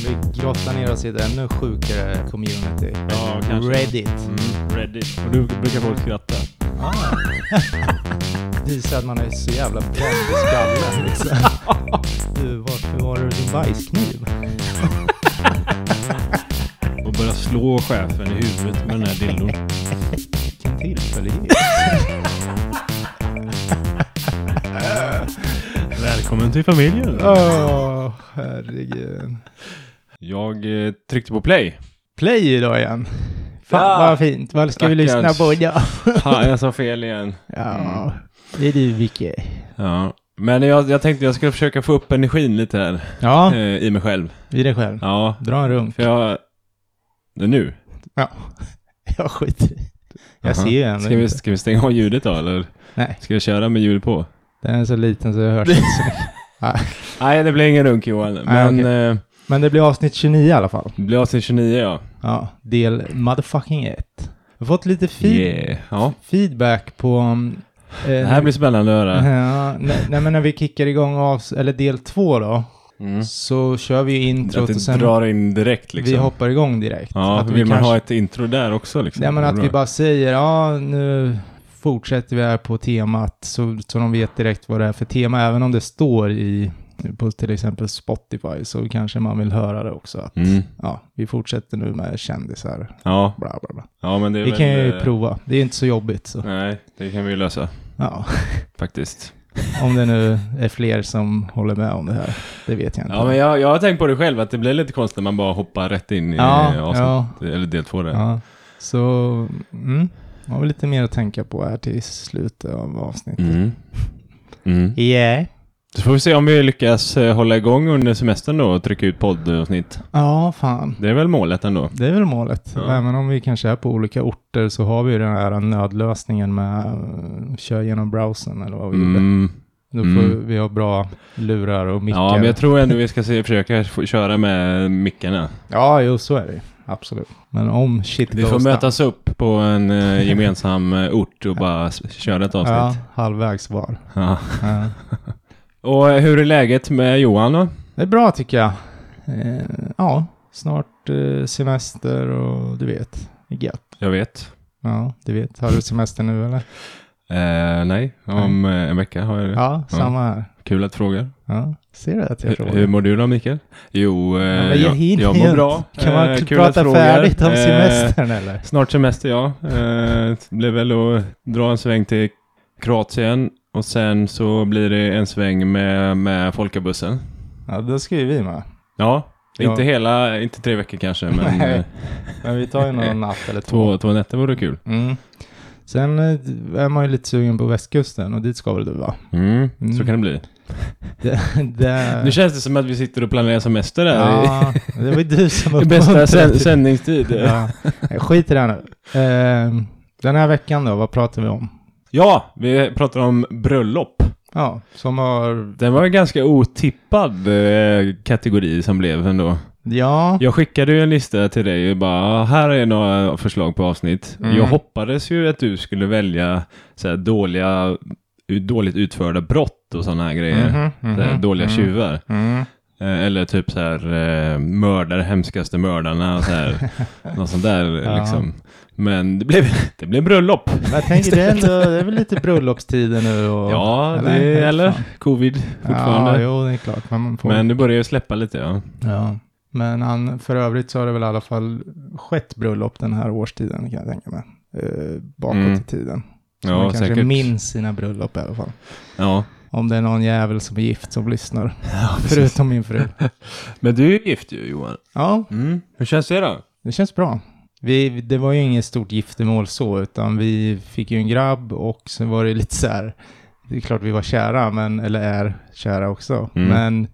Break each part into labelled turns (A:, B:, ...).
A: Vi grottar ner oss i ett ännu sjukare community.
B: Ja, kanske.
A: Reddit.
B: Mm, Reddit. Och du brukar folk skratta.
A: Ah. Visar att man är så jävla bränd i skallen liksom. Du, varför var det din bajskniv?
B: Och börja slå chefen i huvudet med den här dildon.
A: Vilken tillfällighet.
B: Välkommen till familjen.
A: Åh, herregud.
B: Jag eh, tryckte på play.
A: Play idag igen. Fan
B: Ja.
A: vad fint. Vad ska vi
B: Stackars. Mm.
A: lyssna på idag?
B: Ha, jag sa fel igen.
A: Ja, det är du Vicky.
B: Ja. Men jag, jag tänkte jag skulle försöka få upp energin lite här
A: Ja,
B: eh, i mig själv.
A: vid dig själv.
B: Ja,
A: Dra en runk.
B: för jag... Det är nu.
A: Ja, jag skiter i. Jag
B: Aha.
A: ser ju ändå
B: Ska vi,
A: inte.
B: ska vi stänga av ljudet då eller?
A: Nej.
B: Ska jag köra med ljud på?
A: Den är så liten så det hörs inte så mycket.
B: Nej, det blir ingen runk Johan. Men eh,
A: Men det blir avsnitt 29 i alla fall.
B: det blir avsnitt 29 ja.
A: Ja, del motherfucking 1. Jag har fått lite feed-
B: Yeah. ja.
A: feedback på... um, eh,
B: Det här blir spännande att höra.
A: Ja, nej, nej, men när vi kickar igång avs- eller del två då,
B: Mm.
A: så kör vi ju
B: Att
A: introt och
B: det
A: sen
B: drar in direkt liksom.
A: vi hoppar igång direkt.
B: Ja,
A: att
B: vill man ha ett intro där också liksom?
A: Nej, men
B: Det är
A: att
B: bra.
A: vi bara säger, ja, nu fortsätter vi här på temat, så, så de vet direkt vad det är för tema, även om det står i, på till exempel Spotify, så kanske man vill höra det också. Att,
B: Mm.
A: Ja, vi fortsätter nu med kändisar,
B: Ja,
A: bla bla bla.
B: ja, men det är
A: Det
B: väl,
A: kan jag ju
B: eh, Mm.
A: prova, det är inte så jobbigt så.
B: Nej, det kan vi ju lösa
A: Ja,
B: faktiskt.
A: om det nu är fler som håller med om det här, det vet jag inte.
B: Ja, men jag, jag har tänkt på det själv, att det blir lite konstigt när man bara hoppar rätt in i
A: Ja,
B: eh, avsnitt, eller del två där.
A: Ja, så mm, har vi lite mer att tänka på här till slutet av avsnittet.
B: Mm. Mm.
A: Yeah.
B: Så får vi se om vi lyckas eh, hålla igång under semestern då och trycka ut poddavsnitt.
A: Ja, fan.
B: Det är väl målet ändå.
A: Det är väl målet.
B: Ja.
A: Även om vi kanske är på olika orter så har vi ju den här nödlösningen med eh, kör genom browsern eller vad vi gjorde.
B: Mm.
A: Då får
B: Mm.
A: vi ha bra lurar och mickar.
B: Ja, men jag tror ändå vi ska se, försöka f- köra med mickarna.
A: ja jo så är det ju. Absolut. Men om shit
B: Vi får
A: goes
B: mötas upp på en eh, gemensam eh, ort och bara s- köra ett
A: down.
B: avsnitt.
A: Ja, halvvägs var.
B: Ja.
A: Ja.
B: Och eh, hur är läget med Johan då?
A: Det är bra tycker jag. Eh, ja, snart eh, semester och du vet. Det är gött.
B: Jag vet.
A: Ja, du vet. Har du semester nu eller?
B: Eh, nej, om eh, en vecka har jag det.
A: Ja, samma här.
B: Kul att fråga.
A: Ja, ser du att jag
B: Hur,
A: frågar?
B: hur mår du då Mikael? Jo, eh,
A: men jag
B: jag,
A: hinner
B: jag
A: ju
B: mår
A: inte.
B: bra.
A: Kan man typ
B: Eh, kul att
A: prata
B: fråga.
A: färdigt om
B: Eh,
A: semestern eller?
B: Snart semester ja. Eh, det blir väl att dra en sväng till Kroatien och sen så blir det en sväng med, med folkabussen.
A: Ja, då ska ju vi med.
B: Ja,
A: Ja.
B: inte hela, inte tre veckor kanske men
A: Nej.
B: eh,
A: Men vi tar ju någon natt eller två.
B: två, två nätter vore kul.
A: Mm. Sen eh, är man ju lite sugen på västkusten och dit ska väl du va?
B: Mm,
A: Mm.
B: Så kan det bli.
A: Det, det,
B: Nu känns det som att vi sitter och planerar semester här. i-
A: ja, det var ju du som
B: I bästa
A: uppmuntrade
B: sänd-
A: till-
B: sändningstid.
A: ja. Skit i det här nu. Eh, den här veckan då, vad pratar vi om?
B: Ja, vi pratar om bröllop.
A: Ja, som har...
B: Den var en ganska otippad eh, kategori som blev ändå.
A: Ja,
B: Jag skickade ju en lista till dig och bara, "Ah, här är några förslag på avsnitt.
A: Mm.
B: Jag hoppades ju att du skulle välja så här, dåliga, dåligt utförda brott och sådana här grejer.
A: mhm,
B: Så här,
A: mhm,
B: dåliga
A: mhm.
B: tjuvar.
A: Mm.
B: Eh, Eller typ så här eh, mördare, hemskaste mördarna och så här. något sånt där
A: Ja.
B: liksom. Men det blev, det blev bröllop.
A: Men jag tänker det är, ändå, det är väl lite bröllopstider nu och...
B: Ja, det,
A: Eller?
B: eller
A: Fan.
B: covid
A: Ja,
B: fortfarande.
A: jo, det är klart. Men man får...
B: men det börjar ju släppa lite ja.
A: Ja, men an, för övrigt så har det väl i alla fall skett bröllop den här årstiden kan jag tänka mig. Eh, bakåt
B: Mm.
A: i tiden. Så man
B: Ja,
A: kanske
B: säkert.
A: minns sina bröllop i alla fall.
B: Ja.
A: Om det är någon jävel som är gift som lyssnar.
B: precis.
A: Förutom min fru.
B: Men du är ju gift ju Johan.
A: Ja,
B: Mm. Hur känns det då?
A: det känns bra. Vi, det var ju inget stort giftermål så, utan vi fick ju en grabb och sen var det lite så här. Det är klart vi var kära, men, eller är kära också.
B: Mm.
A: Men...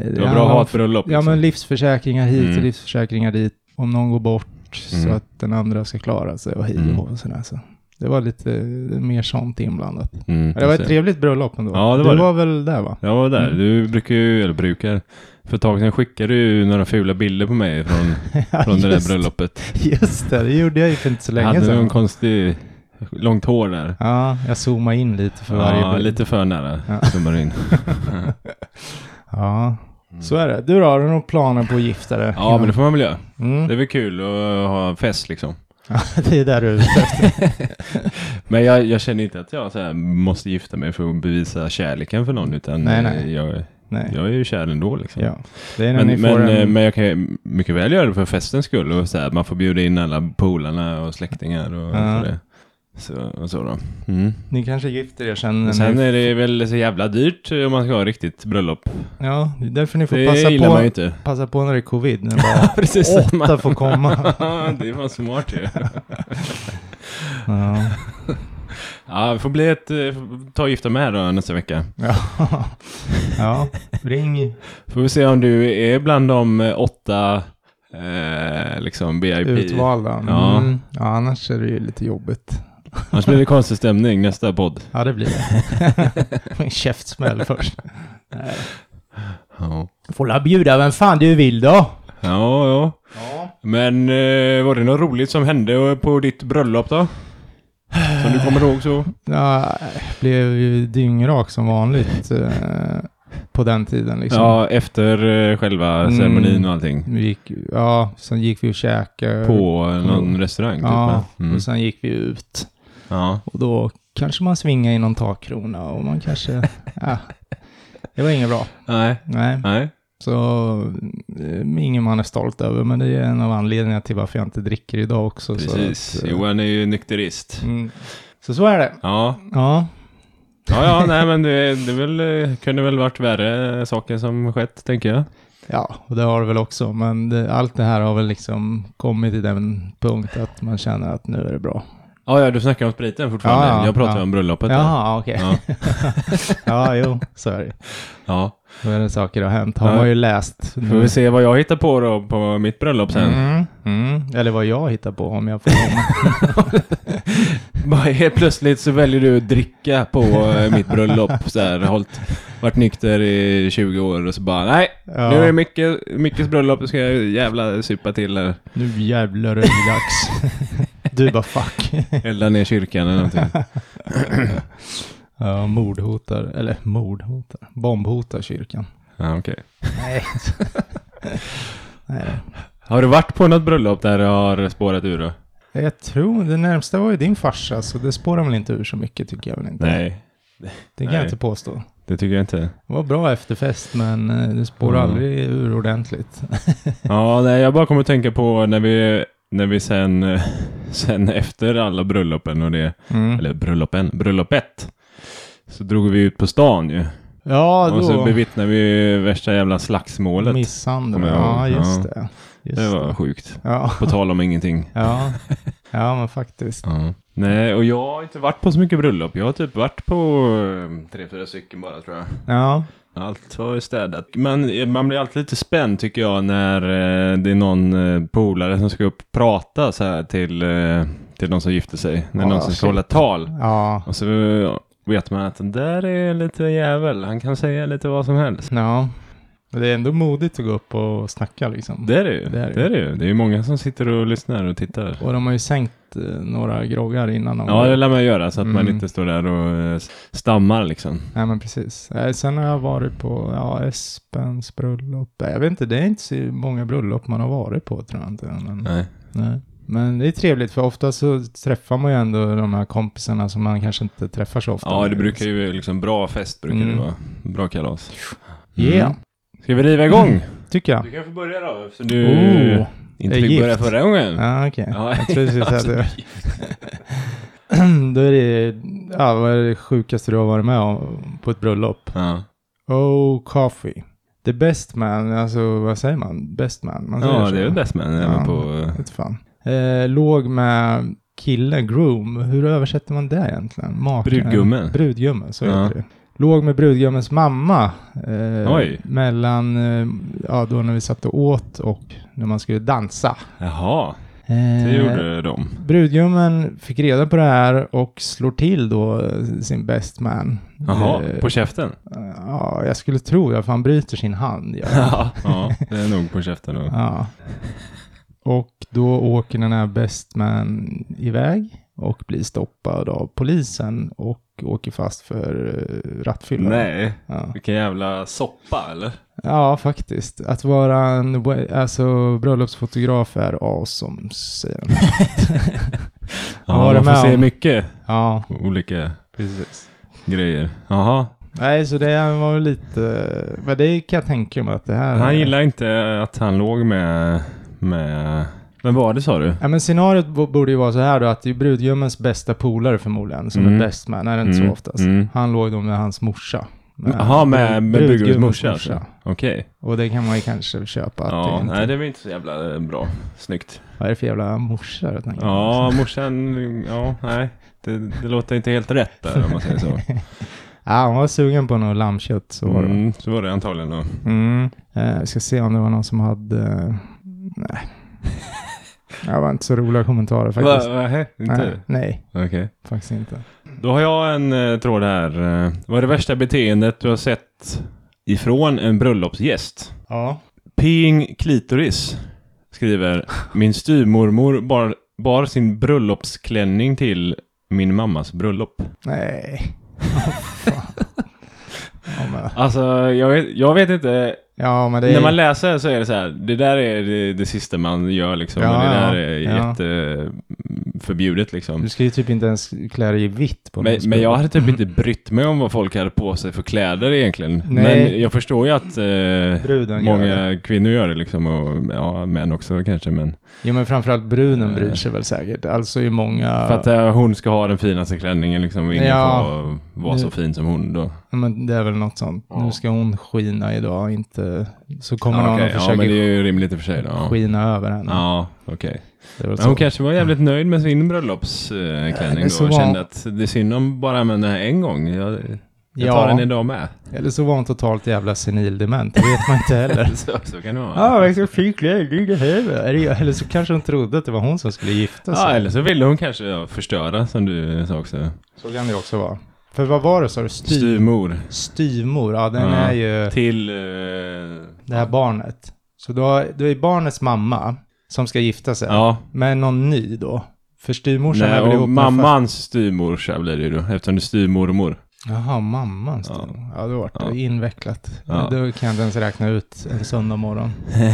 A: eh,
B: Det var bra
A: handlar
B: att
A: om
B: ha ett bröllop.
A: Ja,
B: liksom.
A: men livsförsäkringar hit
B: Mm.
A: och livsförsäkringar dit. Om någon går bort så
B: Mm.
A: att den andra ska klara sig och hej och
B: Mm.
A: hå och sådär. Så det var lite eh, mer sånt inblandat.
B: Mm,
A: Men det var ett
B: precis.
A: trevligt bröllop ändå.
B: Ja, det var
A: du
B: det.
A: var väl där va?
B: Jag var där.
A: Mm.
B: Du brukar ju, eller brukar, för ett tag sedan skickade du ju några fula bilder på mig från,
A: Ja,
B: från det där
A: just-
B: bröllopet.
A: Just det, det gjorde jag ju för inte så
B: Jag
A: länge
B: hade
A: sedan.
B: någon konstig, långt hår där.
A: Ja, jag zoomade in lite för varje
B: Ja,
A: bild.
B: lite för nära
A: Ja.
B: zoomar in.
A: Ja, Så är det. Du då, har du några planer på att gifta dig?
B: Mm. Ja, men det får man väl göra.
A: mm.
B: Det är väl kul att ha en fest liksom.
A: det är där du är ute efter.
B: Men jag, jag känner inte att jag så här, måste gifta mig för att bevisa kärleken för någon, utan
A: Nej, nej.
B: eh, Jag,
A: Nej.
B: jag är ju kär ändå liksom.
A: Ja. Det är när ni
B: Men,
A: får
B: men, eh,
A: en...
B: men jag kan ju mycket väl göra det för festens skull. Och så här, man får bjuda in alla polarna och släktingar och,
A: Ja.
B: så det. Så, och så då. Mm.
A: Ni kanske gifter er sen. när
B: Men sen
A: ni...
B: är det väl så jävla dyrt eh, om man ska ha riktigt bröllop.
A: Ja, det är därför ni får
B: Det
A: passa
B: gillar man ju
A: på,
B: inte.
A: passa på när det är covid. När bara
B: Precis.
A: åtta får komma.
B: det är fan smart ju.
A: Ja.
B: Ja, det får bli ett... eh, får Ta och gifta med då nästa vecka.
A: Ja. ja, ring
B: Får vi se om du är bland de eh, åtta eh, liksom BIP.
A: utvalda.
B: Ja.
A: Mm. Ja, annars är det ju lite jobbigt.
B: Annars blir det konstig stämning nästa podd.
A: Ja, det blir det. en käftsmäll först. Nej.
B: Ja,
A: Får la bjuda vem fan du vill då.
B: ja. ja.
A: Ja.
B: Men eh, var det något roligt som hände på ditt bröllop då? Som du kommer ihåg så?
A: Jag blev ju dyngrak som vanligt eh, på den tiden liksom.
B: Ja, efter eh, själva
A: Mm.
B: ceremonin och allting.
A: Vi gick, ja, sen gick vi och käkade.
B: På någon restaurang?
A: Mm. Ja,
B: Typ, va? mm.
A: och sen gick vi ut.
B: ja.
A: Och då kanske man svingade i någon takkrona och man kanske... ja, det var inget bra.
B: Nej.
A: Nej.
B: Nej.
A: Så eh, ingen man är stolt över, men det är en av anledningarna till varför jag inte dricker idag också.
B: Precis.
A: Så, att, eh,
B: Johan är ju nykterist.
A: mm. så så är det.
B: Ja,
A: Ja,
B: ja, ja nej men det, det väl, eh, kunde väl varit värre saker som skett, tänker jag.
A: ja och det har det väl också, men det, allt det här har väl liksom kommit till den punkt att man känner att nu är det bra.
B: Ja, ja, du snackar om spriten fortfarande.
A: Ja, ja,
B: jag pratar
A: ja.
B: om bröllopet. där.
A: Jaha, okej.
B: Ja.
A: Ja, jo, så är det.
B: ja.
A: Då är det saker som har hänt, har
B: Ja.
A: man ju läst.
B: Får vi se vad jag hittar på då på mitt bröllop sen.
A: Mm, mm. Eller vad jag hittar på om jag får komma.
B: Bara helt plötsligt så väljer du att dricka på eh, mitt bröllop. Så här, hållit, varit nykter i 20 år och så bara nej,
A: Ja.
B: nu är det Micke, Mickes bröllop, nu ska jag jävla supa till här.
A: Nu jävlar är det dags. Du bara fuck.
B: Elda ner kyrkan eller någonting.
A: Ja, mordhotar, eller mordhotar, bombhotar kyrkan.
B: Ja, okej.
A: Nej. Nej.
B: Har du varit på något bröllop där det har spårat ur då?
A: Jag tror, det närmsta var ju din farsa, så det spårar väl inte ur så mycket tycker jag väl inte.
B: Nej,
A: det kan
B: nej.
A: jag inte påstå.
B: det tycker jag inte.
A: Det var bra efterfest, men eh, det spårar
B: Mm.
A: aldrig ur ordentligt.
B: Ja, nej, jag bara kommer att tänka på när vi, när vi sen, eh, sen efter alla bröllopen och det,
A: Mm.
B: eller bröllopen, bröllopet, så drog vi ut på stan ju.
A: Ja,
B: och så
A: då.
B: bevittnade vi värsta jävla slagsmålet.
A: Misshandel.
B: Kommer jag
A: Ja,
B: ihåg.
A: just
B: Ja.
A: det. Just
B: det var
A: det.
B: sjukt.
A: Ja.
B: På tal om ingenting.
A: ja. Ja, men faktiskt.
B: Nej, och jag har inte varit på så mycket bröllop. Jag har typ varit på eh, tre, fyra stycken bara tror jag.
A: Ja.
B: Allt var ju städat. Men eh, man blir alltid lite spänd tycker jag när eh, det är någon eh, polare som ska upp och prata så här till, eh, till någon som gifter sig. När
A: Ja,
B: någon
A: Ah,
B: som
A: shit.
B: ska hålla tal.
A: Ja.
B: Och så eh, vet man att den där är lite jävel. Han kan säga lite vad som helst.
A: Ja. Men det är ändå modigt att gå upp och snacka liksom.
B: Det är det ju.
A: Det är det.
B: Det är det ju. Det är ju många som sitter och lyssnar och tittar.
A: Och de har ju sänkt eh, några groggar innan de...
B: Ja, det lär man göra så att man
A: Mm.
B: inte står där och eh, stammar liksom.
A: Nej, men precis. Nej, Sen har jag varit på ja, Espens bröllop. Nej, Jag vet inte, det är inte så många bröllop man har varit på tror jag inte. Men,
B: Nej.
A: nej. men det är trevligt för ofta så träffar man ju ändå de här kompisarna som man kanske inte träffar så ofta.
B: Ja, det brukar ju liksom bra fest brukar
A: Mm.
B: det vara. Bra kalas.
A: Ja,
B: Mm. Ska vi riva igång?
A: tycker jag.
B: Du kan få börja då, eftersom du
A: Oh,
B: inte
A: är
B: fick
A: gift.
B: börja förra gången.
A: ja, okej.
B: Eh, Ja, Alltså,
A: Jag tror du skulle säga det. Då är det, ja, vad är det sjukaste du har varit med om på ett bröllop?
B: Ja,
A: Oh, coffee. The best man, alltså vad säger man? Best man? Man säger
B: ja
A: så.
B: det är väl bäst man även
A: Ja.
B: på...
A: Vet fan. Eh, låg med kille, groom. Hur översätter man det egentligen? Maken?
B: Brudgummen.
A: Brudgummen, så heter
B: Ja.
A: det. Låg med brudgummens mamma. Eh,
B: Oj.
A: Mellan, eh, ja då när vi satt och åt och när man skulle dansa.
B: Jaha,
A: Eh,
B: det gjorde de.
A: Brudgummen fick reda på det här och slår till då eh, sin best man.
B: Jaha,
A: Eh,
B: på käften?
A: Ja, jag skulle tro det, för han bryter sin hand. Ja.
B: Ja, det är nog på käften då.
A: Ja. Och då åker den här bestman iväg och blir stoppad av polisen och och åker fast för eh, rattfylla.
B: Nej,
A: Ja.
B: vilken jävla soppa eller?
A: ja, faktiskt. Att vara en we- alltså, bröllopsfotograf är awesome, säger de. Vad var det
B: man får
A: med
B: se
A: om?
B: mycket
A: Ja,
B: olika
A: precis.
B: grejer. Jaha,
A: Nej, så det var väl lite... Men det kan jag tänka mig att det här...
B: han gillar inte att han låg med, med... Vem var det sa du?
A: Ja, men scenariot bo- borde ju vara så här då, att det är brudgummens bästa polare förmodligen, som
B: Mm.
A: är bäst man. Är det inte
B: Mm,
A: så oftast?
B: mm.
A: Han låg då med hans morsa.
B: Jaha, med, med
A: brud-
B: brudgummens morsa.
A: brudgummens
B: Alltså. Okej.
A: Och det kan man ju kanske köpa. Att
B: Ja,
A: det inte,
B: nej det var inte så jävla eh, bra. Snyggt.
A: Vad är det för jävla morsa då, tänker jag.
B: Ja, morsan, ja, nej. Det, det låter inte helt rätt där om man säger så.
A: Ja, han var sugen på något lammkött. Så var det.
B: Mm, så var det antagligen då.
A: Mm. Eh, ska se om det var någon som hade... Eh, nej. det var inte så roliga kommentarer faktiskt.
B: Va, va, hä?
A: nej,
B: inte?
A: nej,
B: Okej.
A: faktiskt inte.
B: Då har jag en eh, tråd här. Eh, Vad är det värsta beteendet du har sett ifrån en bröllopsgäst?
A: Ja.
B: Peeing klitoris skriver Min styvmormor bar, bar sin bröllopsklänning till min mammas bröllop.
A: Nej. Oh, fan. Ja, men,
B: Alltså, jag vet, jag vet inte.
A: ja, men det är...
B: När man läser så är det så här. Det där är det, det sista man gör liksom.
A: Ja,
B: och det
A: ja,
B: där är
A: ja.
B: jätteförbjudet liksom.
A: Du ska ju typ inte ens klä dig i vitt på Mm.
B: Men,
A: någon
B: men
A: spel.
B: jag hade typ inte brytt mig om vad folk hade på sig för kläder egentligen.
A: Nej.
B: Men jag förstår ju att eh,
A: Bruden gör det.
B: många kvinnor gör det liksom och ja, män också kanske. Men
A: Jo, men framförallt bruden bryr sig väl säkert. Alltså i många...
B: för att eh, hon ska ha den finaste klänningen liksom. och Ingen
A: Ja.
B: får vara så
A: Nu-
B: fin som hon då.
A: Ja, Men det är väl något sånt.
B: Ja.
A: Nu ska hon skina idag, inte... Så kommer
B: ja,
A: någon
B: okej.
A: och
B: ja, men
A: försöker
B: det är ju rimligt i och för sig. Då. Ja,
A: skina över henne.
B: ja okej.
A: Det är väl
B: Men hon
A: så.
B: kanske var jävligt nöjd med sin bröllopsklänning
A: Eller så
B: då och
A: var-
B: kände att det är synd om bara använda den här en gång. Jag, jag tar
A: Ja,
B: den idag med.
A: eller så var hon totalt jävla senildement. Det vet man inte heller.
B: Så, så kan det vara.
A: Ja, ah, så fick jag ligga här. Eller så kanske hon trodde att det var hon som skulle gifta sig.
B: Ja, eller så ville hon kanske ja, förstöra som du sa också.
A: Så kan det också vara. För vad var det sa du? Styv...
B: Styvmor.
A: Styvmor, ja den
B: Ja.
A: är ju
B: Till... eh,
A: det här barnet. Så då, då är barnets mamma som ska gifta sig.
B: ja.
A: Men någon ny då? För styvmorsan är väl
B: Nej,
A: ihop
B: och
A: med fa-
B: mammans styvmorsa blir det ju då, eftersom det är styvmormor.
A: Jaha, mamman styr.
B: Ja.
A: Ja, då vart det
B: Ja.
A: invecklat.
B: Ja.
A: Då kan jag inte ens räkna ut en söndag morgon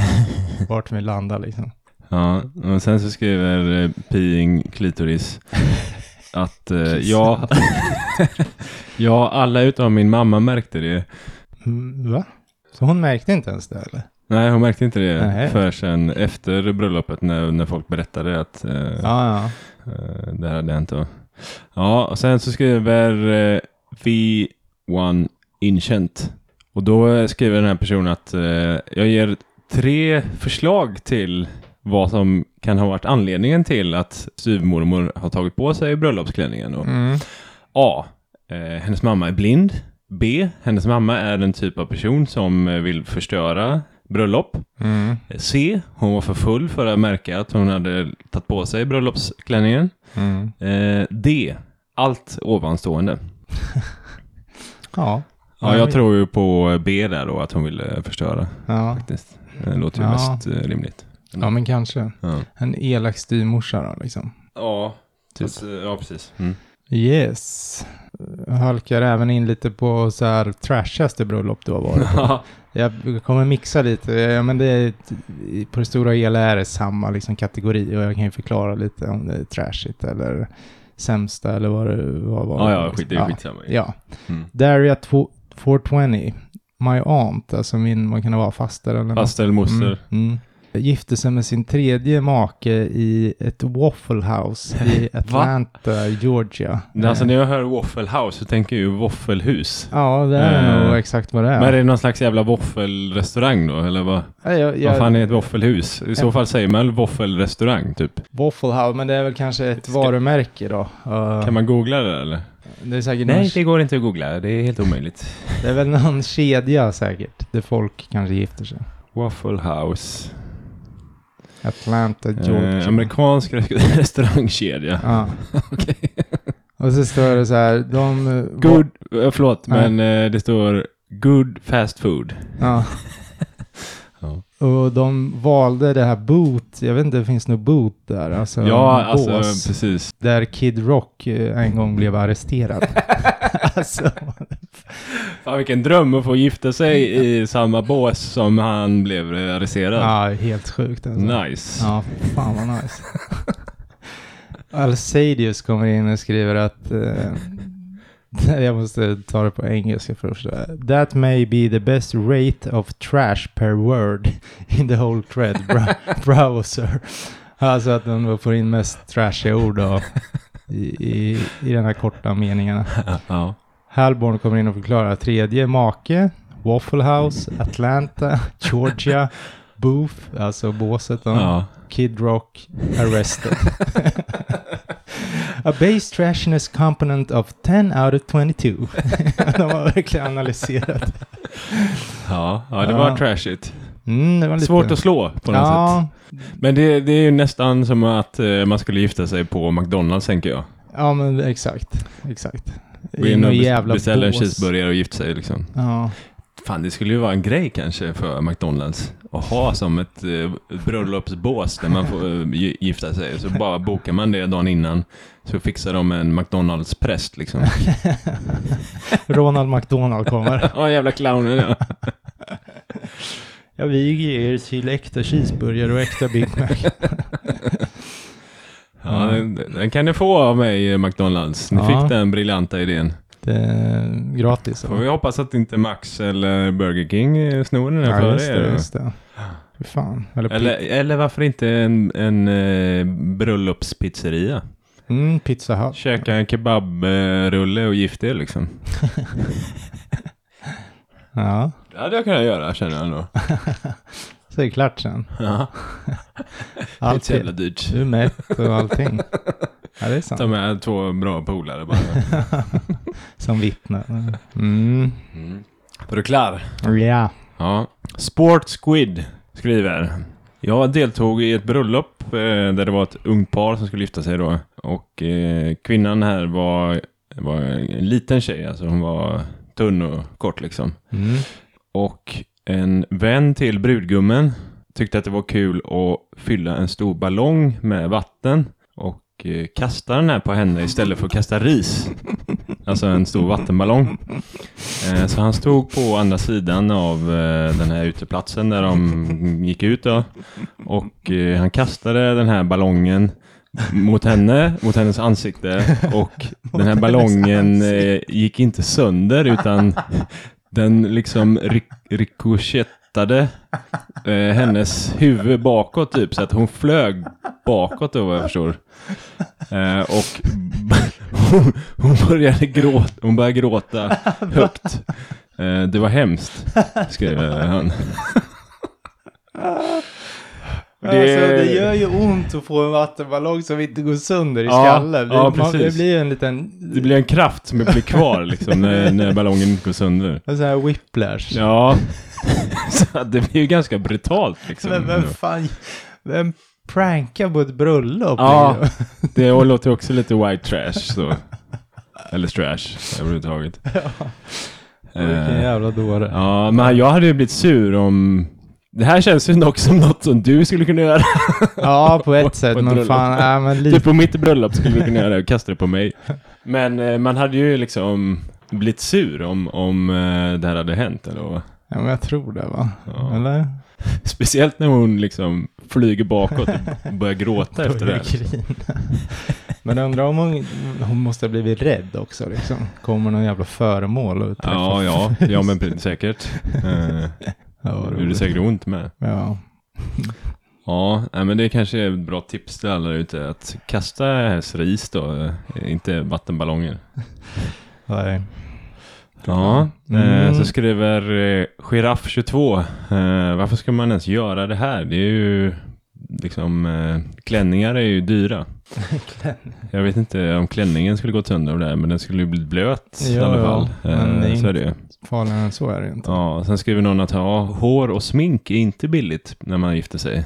A: vart vi landar liksom.
B: Ja, och sen så skriver eh, Peeing Klitoris att eh, ja, ja, alla utom min mamma märkte det.
A: Mm, Va? Så hon märkte inte ens det eller?
B: Nej, hon märkte inte det
A: Nej.
B: förrän sen efter bröllopet när, när folk berättade att eh,
A: Ja, ja.
B: Eh, Det här hade jag inte. va? Ja, och sen så skriver eh, V1 Inchent. Och då eh, skriver den här personen att eh, jag ger tre förslag till vad som kan ha varit anledningen till att styvmormor har tagit på sig bröllopsklänningen. Och
A: Mm.
B: A. Eh, hennes mamma är blind. B. Hennes mamma är den typ av person som eh, vill förstöra bröllop.
A: Mm.
B: C. Hon var för full för att märka att hon hade tagit på sig bröllopsklänningen.
A: Mm.
B: Eh, D. Allt ovanstående.
A: Ja.
B: Ja, jag tror ju på B där då, att hon ville förstöra
A: Ja.
B: faktiskt. Det låter ju
A: Ja.
B: mest eh, rimligt.
A: ja, men kanske.
B: Ja,
A: En elak styvmorsa då liksom.
B: ja,
A: Typ.
B: ja precis. Mm.
A: Yes. Halkar även in lite på så här trashigaste bröllop du har varit på. Jag kommer mixa lite, eh, men det är, på det stora hela är det samma liksom, kategori och jag kan ju förklara lite om det är trashigt eller sämsta eller vad det vad var.
B: ja, ja, skit, det är
A: ja.
B: skitsamma. ju.
A: Ja.
B: Mm.
A: Daria 2- 420, my aunt, alltså min, man kan vara faster eller något.
B: Faster eller moster.
A: Mm, mm. Gifte sig med sin tredje make i ett Waffle House i Atlanta, Georgia. Eh,
B: Men Alltså när jag hör Waffle House så tänker jag ju våffelhus.
A: Ja, det är
B: Eh,
A: nog exakt vad det är.
B: Men är det någon slags jävla våffelrestaurang då? Eller vad,
A: Ja, jag, jag,
B: vad fan är ett våffelhus? I så fall säger man väl våffelrestaurang typ.
A: Waffle House, men det är väl kanske ett
B: Ska-
A: varumärke då. Eh,
B: Kan man googla det eller?
A: Det är säkert någon,
B: Nej, det går inte att googla. Det är helt omöjligt.
A: det är väl någon kedja säkert, där folk kanske gifter sig.
B: Waffle House.
A: Atlanta, Georgia.
B: Eh, amerikansk re- restaurangkedja.
A: Ja. Och så står det så här, de... eh, va-
B: Good, eh, förlåt,
A: Nej.
B: men eh, det står good fast food.
A: Ja.
B: Ja.
A: Och de valde det här boot, jag vet inte, det finns nog boot där. Alltså,
B: ja,
A: bås,
B: alltså precis.
A: Där Kid Rock eh, en gång blev arresterad. alltså,
B: Fan vilken dröm att få gifta sig i samma bås som han blev arresterad.
A: ja, helt sjukt alltså.
B: Nice.
A: Ja, fan vad nice. Alcidius kommer in och skriver att... eh, jag måste ta det på engelska för att förstå. That may be the best rate of trash per word in the whole thread bra- browser. Alltså att de får in mest trashiga ord då, i, i, i de här korta meningarna.
B: Ja.
A: Halborn kommer in och förklarar tredje make, Waffle House, Atlanta, Georgia, Booth, alltså båset. Då.
B: Ja.
A: Kid Rock arrested. A base trashiness component of 10 out of 22. De har verkligen analyserat.
B: Ja. ja, det var
A: Ja.
B: trashigt.
A: Mm, det var lite...
B: Svårt att slå på något sätt.
A: ja,
B: Men det, det är ju nästan som att eh, man skulle gifta sig på McDonalds tänker jag.
A: ja, men exakt. Exakt.
B: Gå in
A: någon
B: och bes-
A: jävla
B: beställa en
A: bås.
B: cheeseburgare och gifta sig liksom.
A: Ja.
B: Fan, det skulle ju vara en grej kanske för McDonalds. Att ha som ett eh, bröllopsbås där man får eh, gi- gifta sig. Så bara bokar man det dagen innan. Så fixar de en McDonalds-präst liksom.
A: Ronald McDonald kommer.
B: Ja, jävla clownen ja.
A: Jag viger er till äkta cheeseburgare och äkta Big Mac.
B: ja den, den kan ni få av mig, eh, McDonalds. Ni
A: Ja.
B: fick den briljanta idén.
A: Det är gratis.
B: Får vi hoppas att inte Max eller Burger King eh, snor den här
A: Ja, just
B: för er.
A: det.
B: då.
A: Just det. Fy fan. Eller,
B: Eller, eller varför inte en, en eh, bröllopspizzeria?
A: mm, pizza Hut.
B: Käka en kebabrulle och gift er liksom.
A: Ja,
B: Det hade jag kunnat göra känner jag ändå.
A: så är det klart sen.
B: Ja, det är inte så
A: Alltid.
B: jävla dyrt.
A: Du är mätt och allting. Ja, det är
B: Ta
A: sant.
B: med två bra polare bara.
A: Som vittne. Mm.
B: Var du klar?
A: Ja.
B: Ja. Sport Squid skriver. Jag deltog i ett bröllop eh, där det var ett ungt par som skulle gifta sig då. Och eh, kvinnan här var, var en liten tjej, alltså hon var tunn och kort liksom.
A: Mm.
B: Och en vän till brudgummen tyckte att det var kul att fylla en stor ballong med vatten och eh, kasta den här på henne istället för att kasta ris. Alltså en stor vattenballong. Eh, Så han stod på andra sidan av eh, den här uteplatsen där de gick ut då. Och eh, han kastade den här ballongen mot henne, mot hennes ansikte och den här ballongen eh, gick inte sönder utan den liksom ri- rikoschettade eh, hennes huvud bakåt typ så att hon flög bakåt då vad jag förstår. Eh, och hon, hon började gråta, hon började gråta högt. Eh, det var hemskt, skrev eh, han.
A: Alltså, det gör ju ont att få en vattenballong som inte går sönder i
B: Ja,
A: skallen. Det,
B: ja,
A: man, det
B: precis.
A: blir ju en liten
B: Det blir en kraft som blir kvar liksom när, när ballongen går sönder.
A: en sån här whiplash.
B: Ja, så att det blir ju ganska brutalt liksom.
A: Men vem fan, vem prankar på ett bröllop?
B: Ja, Eh. det låter också lite white trash så. Eller trash överhuvudtaget.
A: Vilken
B: Eh,
A: jävla dåre.
B: ja, men jag hade ju blivit sur om... Det här känns ju dock som något som du skulle kunna göra.
A: Ja, på
B: På-
A: ett
B: på
A: sätt. Men
B: ett bröllop.
A: fan, ja, men lite.
B: Typ på mitt bröllop skulle du kunna göra det och kasta det på mig. Men eh, man hade ju liksom blivit sur om, om eh, det här hade hänt. Eller? vad?
A: Ja, men jag tror det va?
B: Ja.
A: Eller?
B: Speciellt när hon liksom flyger bakåt och börjar gråta efter det.
A: Börjar
B: här.
A: grina. Men jag undrar om hon, hon måste ha blivit rädd också liksom. Kommer någon jävla föremål och träffar.
B: Ja, ja, ja men pre- säkert. Eh,
A: Ja, vad
B: det gjorde
A: roligt.
B: säkert ont med.
A: ja.
B: Ja, nej, men det kanske är ett bra tips till alla där ute. Att kasta helst ris då, eh, inte vattenballonger.
A: Nej.
B: Ja,
A: Mm.
B: eh, så skriver eh, Giraff22. Eh, varför ska man ens göra det här? Det är ju liksom eh, klänningar är ju dyra. Jag vet inte om klänningen skulle gå sönder av det här, men den skulle ju bli blöt i
A: Ja,
B: alla
A: ja.
B: fall.
A: Men det är
B: Eh, så är det ju.
A: Farligare än så är det ju inte.
B: Ja, sen skriver någon att ja, hår och smink är inte billigt när man gifter sig.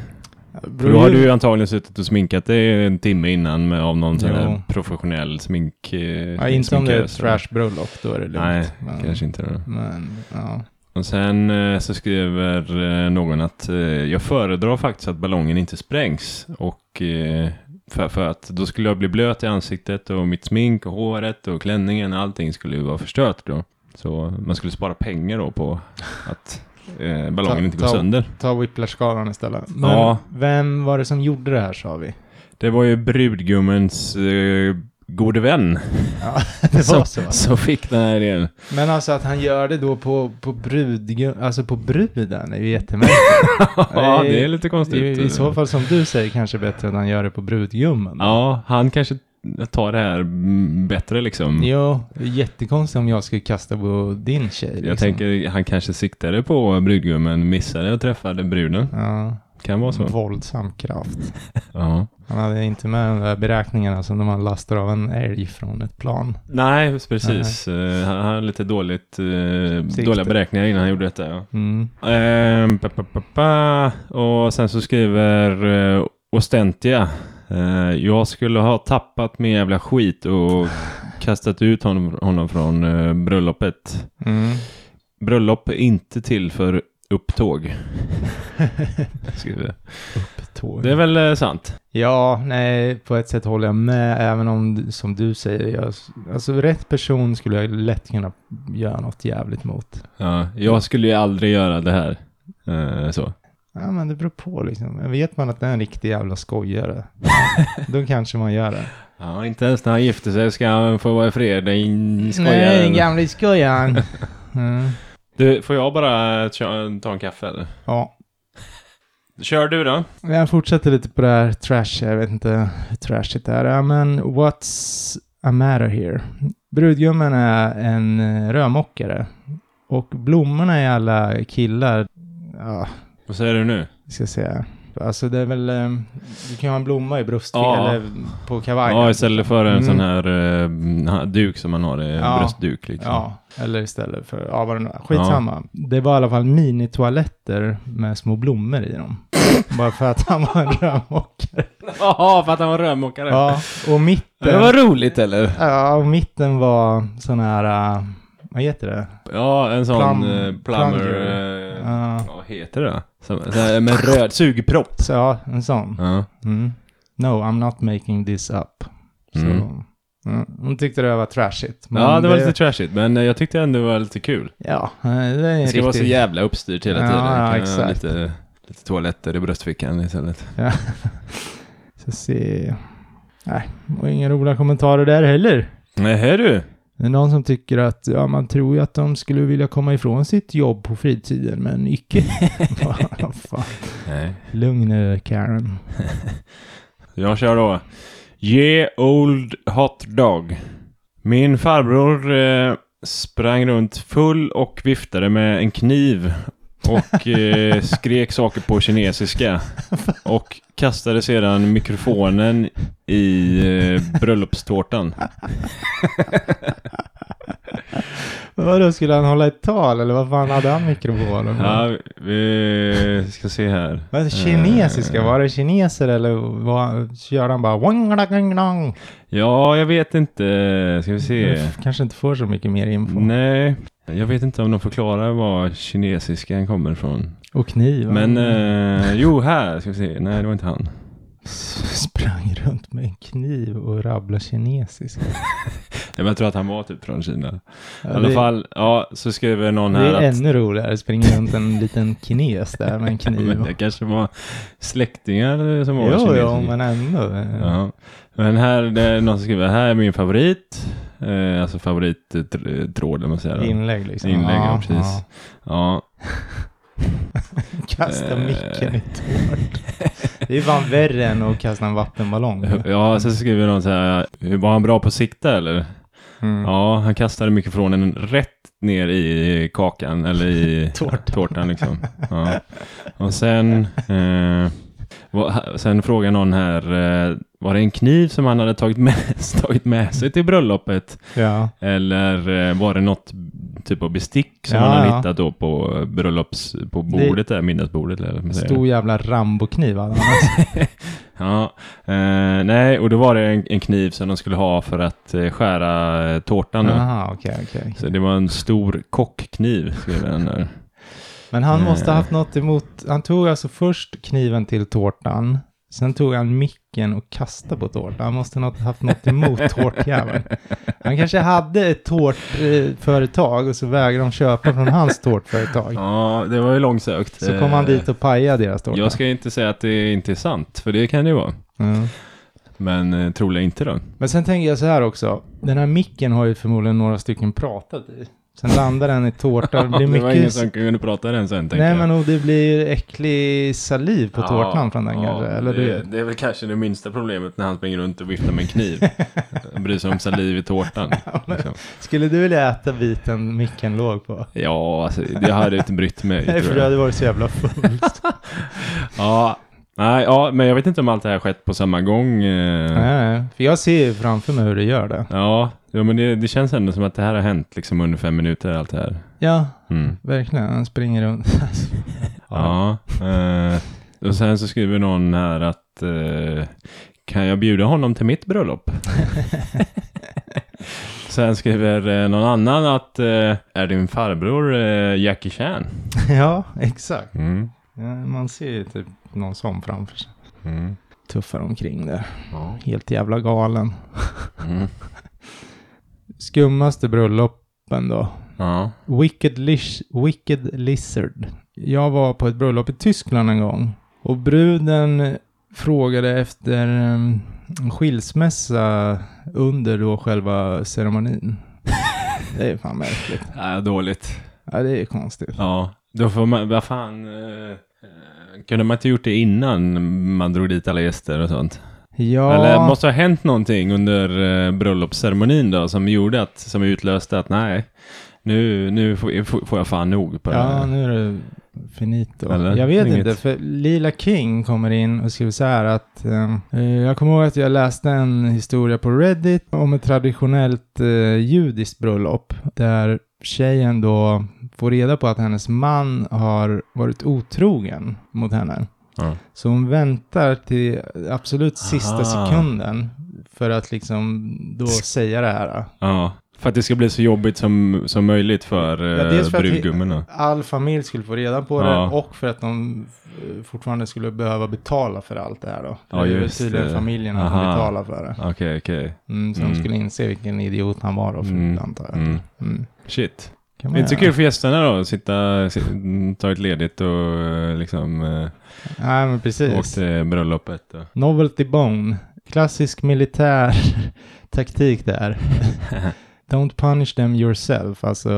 A: Det
B: För
A: beror
B: då har
A: ju-
B: du ju antagligen suttit och sminkat dig en timme innan med, av någon sån
A: Jo.
B: här professionell smink... eh,
A: ja, inte om det är ett
B: sminkös.
A: trashbröllop, då är det lugnt.
B: Nej,
A: men,
B: Kanske inte. Då.
A: Men, ja.
B: Och sen eh, så skriver eh, någon att eh, jag föredrar faktiskt att ballongen inte sprängs. Och eh, för, för att då skulle jag bli blöt i ansiktet och mitt smink och håret och klänningen, allting skulle ju vara förstört då. Så man skulle spara pengar då på att eh, ballongen
A: Ta-
B: inte går
A: ta-
B: sönder.
A: Ta Whiplash-skalan istället. Men
B: Ja.
A: vem var det som gjorde det här sa vi?
B: Det var ju brudgummens eh, gode vän
A: Ja, det var så.
B: som fick den här idén.
A: Men alltså att han gör det då på, på, brud, alltså på bruden är ju jättemärkligt.
B: ja, det är lite
A: I,
B: konstigt.
A: I så fall som du säger kanske bättre att han gör det på brudgummen.
B: Ja, han kanske tar det här mm, bättre liksom.
A: Jo, det är jättekonstigt om jag skulle kasta på din tjej. liksom.
B: Jag tänker han kanske siktade på brudgummen, missade och träffade bruden.
A: Ja,
B: Kan vara
A: Mm.
B: så.
A: våldsam kraft.
B: Ja.
A: Han hade inte med de där beräkningarna som när man lastar av en älg från ett plan.
B: Nej, precis. Eh, han hade lite dåligt, eh,
A: Sikte.
B: dåliga beräkningar innan han gjorde detta. Ja.
A: Mm.
B: Ehm, pa, pa, pa, pa. Och sen så skriver eh, Ostentia. Eh, jag skulle ha tappat min jävla skit och kastat ut honom, honom från eh, bröllopet.
A: Mm.
B: Bröllop är inte till för upptåg. Skriver.
A: Tåg.
B: Det är väl eh, sant?
A: Ja, nej, på ett sätt håller jag med, även om du- som du säger, jag, alltså rätt person skulle jag lätt kunna göra något jävligt mot.
B: Ja, jag skulle ju aldrig göra det här. Eh, så.
A: Ja, men det beror på liksom. Men Vet man att det är en riktig jävla skojare, då kanske man gör det.
B: Ja, inte ens när han gifter sig ska han få vara i fred. Den
A: Nej,
B: skojaren.
A: gamle skojaren. Mm.
B: Du, får jag bara kö- ta en kaffe eller?
A: Ja,
B: Kör du då.
A: Men jag fortsätter lite på det här trash, jag vet inte hur trashigt det här är, men what's a matter here? Brudgummen är en eh, rörmokare och blommorna är alla killar, ja,
B: Vad säger du nu?
A: ska jag säga. Alltså det är väl, eh, du kan ju ha en blomma i bröstet
B: Ja.
A: eller på kavajen.
B: Ja, istället för en
A: Mm.
B: sån här eh, ha- duk som man har, eh,
A: Ja.
B: bröstduk liksom.
A: Ja, eller istället för, ja vad det nu är. Skitsamma. Det var i alla fall minitoaletter med små blommor i dem. Bara för att han var en rörmokare.
B: Jaha, för att han var rörmokare.
A: Ja, och mitten.
B: roligt eller?
A: Ja, och mitten var sån här, äh, vad heter det?
B: Ja, en sån
A: Plum-
B: eh, plumber...
A: plunger.
B: eh,
A: Ja.
B: Vad heter det då? Som, så här, med röd sugpropp.
A: Så ja, en sån.
B: Ja.
A: Mm. No, I'm not making this up. Så,
B: Mm.
A: mm. Hon tyckte det var trashigt. men
B: ja, det var lite trashigt, men eh, jag tyckte ändå det var lite kul.
A: Ja, eh, det är
B: Det ska
A: riktigt.
B: vara så jävla uppstyrt hela
A: Ja,
B: tiden. Kan
A: ja,
B: jag ha
A: exakt.
B: Lite, lite toaletter i bröstfickan istället.
A: Så se. Nej, och inga roliga kommentarer där heller.
B: Nähä du.
A: Det är någon som tycker att ja, man tror ju att de skulle vilja komma ifrån sitt jobb på fritiden, men icke. Vad fan.
B: Nej.
A: Lugn nu, Karen.
B: Jag kör då. Ge old hot dog. Min farbror eh, sprang runt full och viftade med en kniv och eh, skrek saker på kinesiska och kastade sedan mikrofonen i eh, bröllopstårtan.
A: Vadå, skulle han hålla ett tal eller vad fan hade han mikrofonen?
B: Ja, vi ska se här.
A: Men kinesiska,
B: Eh,
A: var det kineser eller var, körde han bara wang da, gang, dang?
B: Ja, jag vet inte. Ska vi se.
A: Du Kanske inte får så mycket mer info.
B: Nej, jag vet inte om de förklarar var kinesiskan kommer ifrån.
A: Och kniv.
B: Men
A: han
B: eh, jo, här ska vi se. Nej, det var inte han.
A: s- Sprang runt med en kniv och rabblade kinesiska.
B: Jag tror att han var typ från Kina.
A: Ja,
B: I alla
A: det-
B: fall, ja, så skriver någon
A: Det
B: här
A: är
B: att
A: ännu roligare, springer runt en liten kines där med en kniv.
B: men det kanske var släktingar som var
A: Jo,
B: kinesiska.
A: jo, men ändå.
B: Ja. Men här, det är någon som skriver, här är min favorit. Eh, alltså favorittråd, om man säger. då.
A: Inlägg liksom.
B: Inlägg, ja, precis. Ja,
A: ja. Kasta
B: Eh.
A: micken i tårt. Det är fan värre än att kasta en vattenballong.
B: Ja, sen så skriver någon så här, var han bra på att sikta eller?
A: Mm.
B: Ja, han kastade mikrofonen rätt ner i kakan, eller i
A: Tårtan.
B: tårtan liksom. Ja. Och sen, eh, vad- sen frågar någon här, eh, var det en kniv som han hade tagit med, tagit med sig till bröllopet?
A: Ja.
B: Eller eh, var det något typ av bestick som
A: Ja,
B: han hade
A: ja.
B: hittat då på bröllops, på bordet där, middagsbordet? Eller vad man säger.
A: Stor jävla rambokniv hade han.
B: Ja, eh, nej, och då var det en, en kniv som de skulle ha för att eh, skära eh, tårtan. då.
A: Aha, okej, okej.
B: Så det var en stor kockkniv, skrev den där.
A: Men han måste ha
B: Eh.
A: haft något emot, han tog alltså först kniven till tårtan, sen tog han micken och kastade på tårtan. Han måste ha något- haft något emot tårtjäveln. Han kanske hade ett tårtföretag och så vägrade de köpa från hans tårtföretag.
B: Ja, det var ju långsökt. Eh,
A: Så kom han dit och pajade deras tårta.
B: Jag ska inte säga att det inte är sant, för det kan det ju vara.
A: Mm.
B: Men eh, troligen inte då.
A: Men sen tänker jag så här också, den här micken har ju förmodligen några stycken pratat i. Sen landar den i tårta, det blir
B: det var ingen
A: mycket...
B: som kunde prata den sen, tänker
A: Nej
B: jag.
A: men och det blir äcklig saliv på
B: Ja,
A: tårtan från den kanske. Eller
B: det,
A: det,
B: det är väl kanske det minsta problemet när han springer runt och viftar med en kniv. Bryr sig om saliv i tårtan. Liksom.
A: Skulle du vilja äta biten micken låg på?
B: Ja, alltså, det hade inte brytt mig.
A: Nej, för
B: tror
A: du
B: jag.
A: hade varit så jävla full.
B: Ja, nej, ja, men jag vet inte om allt det här skett på samma gång. eh.
A: Nej, nej, för jag ser ju framför mig hur du gör det.
B: Ja, ja men det, det känns ändå som att det här har hänt liksom under fem minuter, allt det här.
A: Ja,
B: Mm.
A: verkligen. Han springer runt.
B: Ja. eh, och sen så skriver någon här att eh, kan jag bjuda honom till mitt bröllop? sen skriver eh, någon annan att eh, är din farbror eh, Jackie Chan?
A: ja, exakt.
B: Mm.
A: Ja, man ser ju typ någon sån framför sig.
B: Mm.
A: Tuffar omkring där.
B: Ja.
A: Helt jävla galen.
B: Mm.
A: Skummaste bröllopen då?
B: ja.
A: Wicked, Lish, Wicked Lizard. Jag var på ett bröllop i Tyskland en gång. Och bruden frågade efter em, en skilsmässa under då själva ceremonin. det är fan märkligt.
B: Ja, dåligt.
A: Ja, det är ju konstigt.
B: Ja, då får man, vad fan. eh, eh, kunde man inte gjort det innan man drog dit alla gäster och sånt?
A: Ja,
B: Eller måste ha hänt någonting under eh, bröllopsceremonin då som gjorde att, som utlöste att nej, nu, nu får, får- får jag fan nog på det
A: ja
B: här.
A: nu är det finito.
B: Eller?
A: jag vet
B: Inget.
A: inte, för Lila King kommer in och skriver så här att em, eh, jag kommer ihåg att jag läste en historia på Reddit om ett traditionellt eh, judiskt bröllop där tjejen då får reda på att hennes man har varit otrogen mot henne.
B: Ja.
A: Så hon väntar till absolut sista
B: Aha.
A: sekunden för att liksom då säga det här.
B: Ja, för att det ska bli så jobbigt som, som möjligt för
A: Ja,
B: eh,
A: dels för att vi-
B: brudgummorna.
A: all familj skulle få reda på det
B: Ja.
A: och för att de eh, fortfarande skulle behöva betala för allt det här då. För
B: Ja,
A: det är väl
B: just
A: tydligen
B: det.
A: familjen som
B: Aha.
A: betalar för det.
B: Okej, okej.
A: Mm, så de
B: Mm.
A: skulle inse vilken idiot han var då, för,
B: Mm.
A: antar jag.
B: Mm.
A: Mm.
B: Shit.
A: Kan
B: Det är
A: man
B: inte så
A: göra.
B: kul för gästerna då, att sitta, si- mm, ta ett ledigt och eh, liksom eh,
A: Nej, men
B: åka
A: precis.
B: till bröllopet. Då.
A: Novelty bone. Klassisk militär taktik där. Don't punish them yourself. Alltså,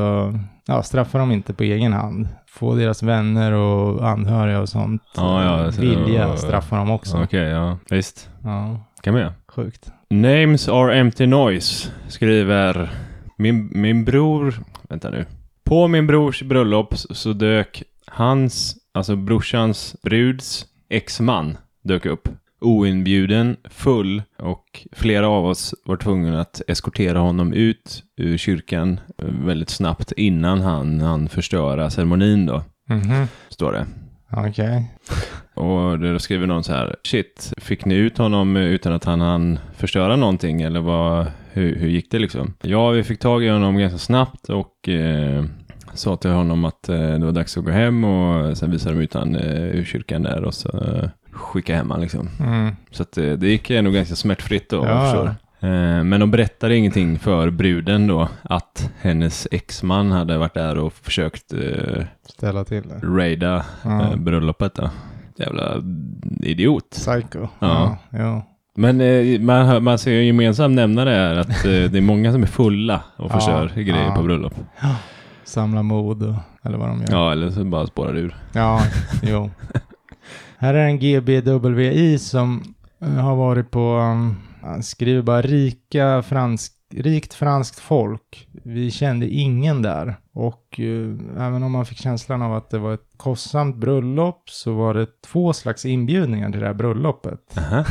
A: ja, straffa dem inte på egen hand. Få deras vänner och anhöriga och sånt
B: Ja, ja, alltså,
A: eh,
B: så-
A: vilja att straffa dem också.
B: Okej, ja. Visst.
A: Ja,
B: Kan man göra.
A: sjukt.
B: Names are empty noise, skriver min, min bror, vänta nu. På min brors bröllop s- så dök hans, alltså brorsans bruds exman dök upp. Oinbjuden, full och flera av oss var tvungna att eskortera honom ut ur kyrkan eh, väldigt snabbt innan han han förstöra ceremonin då,
A: Mhm.
B: står det.
A: Okej.
B: Och då skriver någon så här, shit, fick ni ut honom utan att han hann förstöra någonting eller vad, hur, hur gick det liksom? Ja, vi fick tag i honom ganska snabbt och eh, sa till honom att eh, det var dags att gå hem och sen visade de ut han eh, ur kyrkan där och så eh, skickade hem han liksom.
A: Mm.
B: Så att, eh, det gick nog ganska smärtfritt då, vad jag
A: Ja.
B: förstår. Eh, men de berättade ingenting för bruden då, att hennes exman hade varit där och försökt eh,
A: Ställa till det.
B: raida
A: Ja.
B: eh, bröllopet då. Jävla idiot.
A: Psycho.
B: Ja.
A: ja.
B: Men eh, man, hör- man ser ju en gemensam nämnare här att eh, det är många som är fulla och förstör
A: Ja,
B: grejer
A: ja.
B: på bröllop.
A: Samla mod och, eller vad de gör.
B: Ja, eller så bara spårar det ur.
A: ja jo. Här är en GBWI som eh, har varit på, um, han skriver bara rika fransk, rikt franskt folk. Vi kände ingen där. Och eh, även om man fick känslan av att det var ett kostsamt bröllop så var det två slags inbjudningar till det här bröllopet.
B: Aha.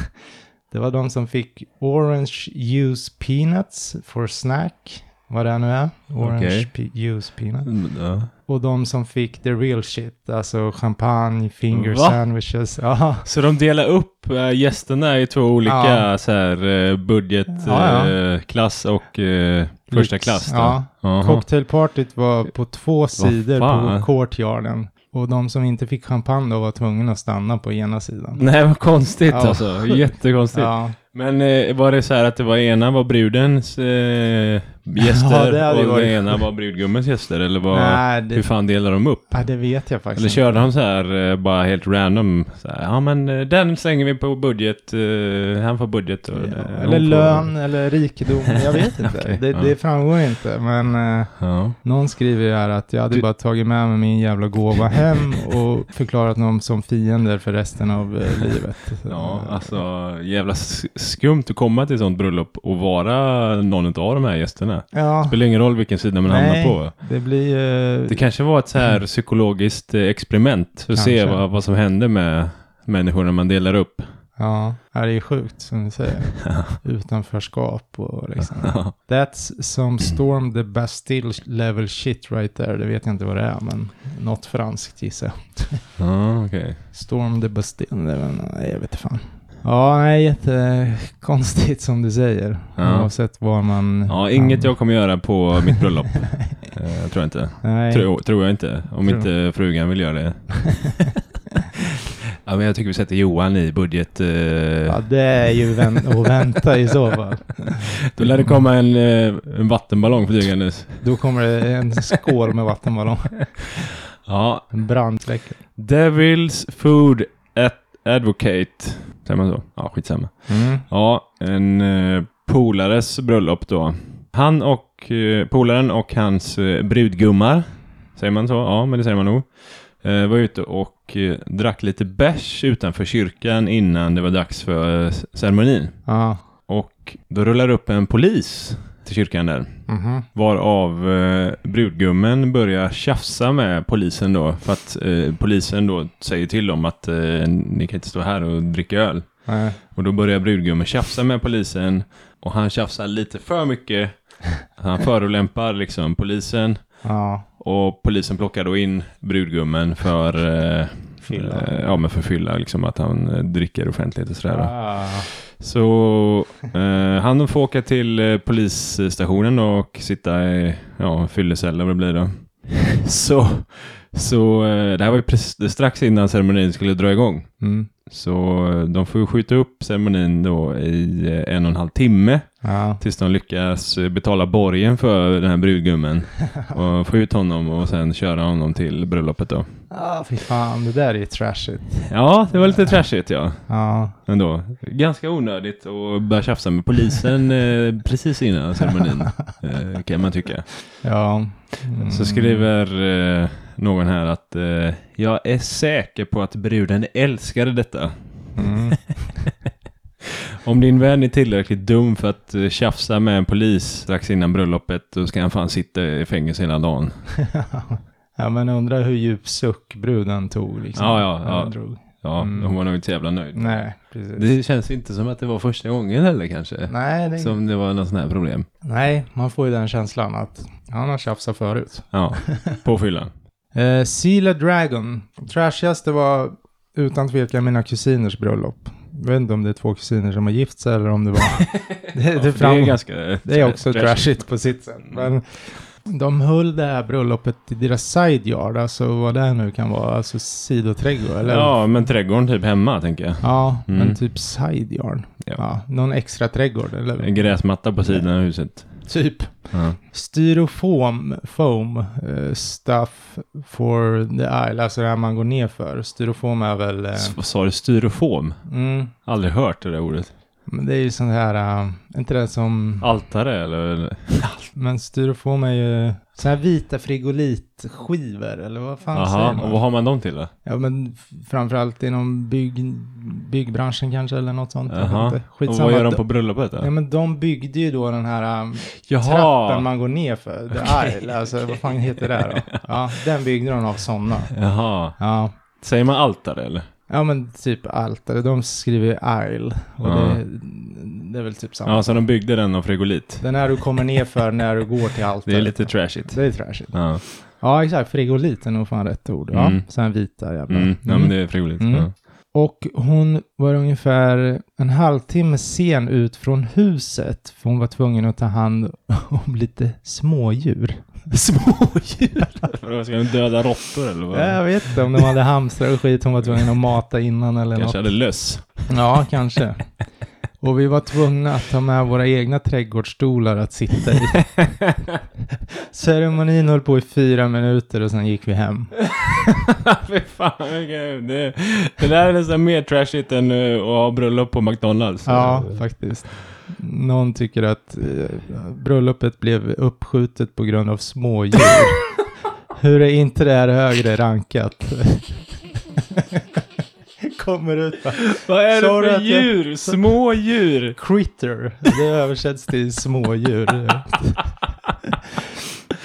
A: Det var de som fick Orange Juice Peanuts for snack vad det nu är. Orange
B: Okej.
A: pe- juice peanut.
B: Mm, Ja.
A: Och de som fick the real shit, alltså champagne, finger
B: Va?
A: sandwiches. Ja,
B: Så de delar upp äh, gästerna i två olika
A: Ja.
B: så här, eh, budget,
A: Ja, ja.
B: eh, klass och eh, första
A: Lyx,
B: klass. Då.
A: ja.
B: Jaha.
A: cocktailpartyt var på två sidor
B: fan?
A: på courtyarden. Och de som inte fick champagne då var tvungna att stanna på ena sidan.
B: Nej, vad konstigt
A: Ja.
B: alltså. Jättekonstigt.
A: Ja,
B: Men eh, var det så här att det var ena var brudens eh,
A: Ja,
B: gäster
A: det hade ju
B: och
A: varit
B: den ena var brudgummens gäster? Eller vad,
A: nej, det,
B: hur fan delar de upp?
A: ja, det vet jag faktiskt
B: Eller körde han så här eh, bara helt random? Så här, ja men eh, den slänger vi på budget. eh, han får budget. Och,
A: inte. Ja,
B: eh, hon
A: eller
B: får-
A: lön, eller rikedom, jag vet inte.
B: Okej,
A: det,
B: ja.
A: det framgår inte, men... eh,
B: Ja.
A: Någon skriver ju här att jag hade
B: Du-
A: bara tagit med mig min jävla gåva hem och förklarat dem som fiender för resten av eh, livet.
B: Ja, alltså jävla s- skumt att komma till ett sånt bröllop och vara någon av de här gästerna.
A: Ja,
B: Spelar ingen roll vilken sida man
A: Nej.
B: hamnar på.
A: det blir ju...
B: Det kanske var ett så här psykologiskt eh, experiment för att se
A: Kanske.
B: vad, vad som händer med människor när man delar upp.
A: Ja, det är ju sjukt som du säger. Utanförskap och liksom.
B: Ja. Mm.
A: That's some storm the Bastille level shit right there. Det vet jag inte vad det är, men något franskt gissar jag.
B: Ja, okej.
A: Storm the Bastille, det är väl- nej, jag vet inte fan. Ja, nej, jättekonstigt som du säger.
B: Ja.
A: Oavsett var man...
B: Ja, inget
A: man-
B: jag kommer göra på mitt bröllop. Eh, tror jag inte.
A: Nej.
B: Tror, tror jag inte. Om
A: Tror-
B: inte frugan vill göra det. ja, men jag tycker vi sätter Johan i budget. eh,
A: Ja, det är ju vän- att vänta i så fall.
B: Då lär det komma en, eh, en vattenballong flygandes.
A: Då kommer det en skål med vattenballong.
B: Ja,
A: En brandsläckare.
B: Devils Food Ad- Advocate. Säger man så? Ja, skitsamma.
A: Mm.
B: Ja, en eh, polares bröllop då. Han och eh, polaren och hans eh, brudgummar. Säger man så? Ja, men det säger man nog. Eh, var ute och eh, drack lite bärs utanför kyrkan innan det var dags för eh, ceremonin.
A: Ja.
B: Och då rullar upp en polis till kyrkan där.
A: Mhm.
B: Varav eh, brudgummen börjar tjafsa med polisen då. För att eh, polisen då säger till dem att eh, ni kan inte stå här och dricka öl.
A: Nej.
B: Och då börjar brudgummen tjafsa med polisen. Och han tjafsar lite för mycket. Han förolämpar liksom polisen.
A: Ja.
B: Och polisen plockar då in brudgummen för eh,
A: Fylla.
B: eh, ja, men för fylla liksom att han eh, dricker offentligt och sådär. då.
A: Ah.
B: Så eh, han får åka till eh, polisstationen då och sitta i ja, fyllecell eller vad det blir då. Så, så eh, det här var ju precis, strax innan ceremonin skulle dra igång.
A: Mm.
B: Så eh, de får ju skjuta upp ceremonin då i eh, en och en halv timme
A: Ja.
B: tills de lyckas eh, betala borgen för den här brudgummen och få ut honom och sen köra honom till bröllopet då.
A: Ah, fy fan, det där är ju trashigt.
B: Ja, det var lite trashigt ja.
A: Ja.
B: ändå. Ganska onödigt att börja tjafsa med polisen eh, precis innan ceremonin, eh, kan man tycka.
A: Ja. Mm.
B: Så skriver eh, någon här att eh, jag är säker på att bruden älskade detta.
A: Mm.
B: Om din vän är tillräckligt dum för att eh, tjafsa med en polis strax innan bröllopet, då ska han fan sitta i fängelse hela dagen.
A: ja, men undrar hur djup suck bruden tog liksom.
B: Ja, ja, ja.
A: Jag drog.
B: Ja,
A: Mm.
B: hon var nog inte så jävla nöjd.
A: Nej, precis.
B: Det känns inte som att det var första gången heller kanske.
A: Nej, det...
B: Som det var något sånt här problem.
A: Nej, man får ju den känslan att han har tjafsat förut.
B: Ja, på fyllan.
A: Eh, Seal of Dragon. Trashigaste var utan tvekan mina kusiners bröllop. Jag vet inte om det är två kusiner som har gift sig eller om det var... det,
B: Ja,
A: det,
B: för det är
A: fram...
B: ganska... eh,
A: det är också trashigt på sitt sätt. Men de höll det här bröllopet i deras side yard, alltså vad det nu kan vara, alltså sidoträdgård eller?
B: Ja, men trädgården typ hemma tänker jag.
A: Ja,
B: Mm.
A: men typ side yard.
B: Ja.
A: Ja. någon extra trädgård eller?
B: En gräsmatta på sidan av huset.
A: Typ.
B: Ja.
A: Styrofoam foam eh, stuff for the isle, alltså det här man går ner för. Styrofoam är väl... eh,
B: S- Vad sa du? Styrofom?
A: Mm,
B: Aldrig hört det där ordet.
A: men det är ju sånt här, eh, inte det som...
B: Altare eller?
A: Men styrofoam är ju sån här vita frigolitskivor, eller vad fan säger
B: Jaha,
A: man?
B: och vad har man dem till då?
A: Ja, men f- framförallt inom bygg, byggbranschen kanske, eller något sånt. jag vet
B: Jaha.
A: inte.
B: Och vad gör de
A: De-
B: på bröllopet då?
A: Ja, men de byggde ju då den här eh,
B: Jaha!
A: trappen man går ner för, the
B: Okej,
A: isle, alltså vad fan heter det då? Ja, den byggde de av sådana.
B: Jaha.
A: Ja.
B: Säger man altare eller?
A: Ja men typ altare, de skriver ju Isle. Och
B: Ja.
A: det, Det är väl typ samma.
B: Ja, så de byggde den av frigolit.
A: Den här du kommer ner för när du går till allt.
B: Det är lite trashigt.
A: Det är trashigt.
B: Ja,
A: Ja, exakt. Frigolit är nog fan rätt ord. Ja.
B: Mm.
A: Sen vita jävlar.
B: mm. ja men det är frigolit.
A: Mm.
B: Ja.
A: Och hon var ungefär en halvtimme sen ut från huset. För hon var tvungen att ta hand om lite smådjur.
B: Smådjur? Vadå, Ska de döda råttor eller vad?
A: Jag vet inte om de hade hamstrar och skit hon var tvungen att mata innan eller något.
B: Kanske hade löss.
A: Ja, kanske. Och vi var tvungna att ta med våra egna trädgårdsstolar att sitta i. Ceremonin höll på i fyra minuter och sen gick vi hem.
B: Fy fan, vilken- det, det där är nästan mer trashigt än eh, att ha bröllop på McDonalds.
A: Ja, faktiskt. Någon tycker att eh, bröllopet blev uppskjutet på grund av smådjur. Hur är inte det här högre rankat? Kommer ut bara,
B: Vad är det
A: Sorry
B: för
A: att jag-
B: djur? Små djur?
A: Critter, det översätts till smådjur.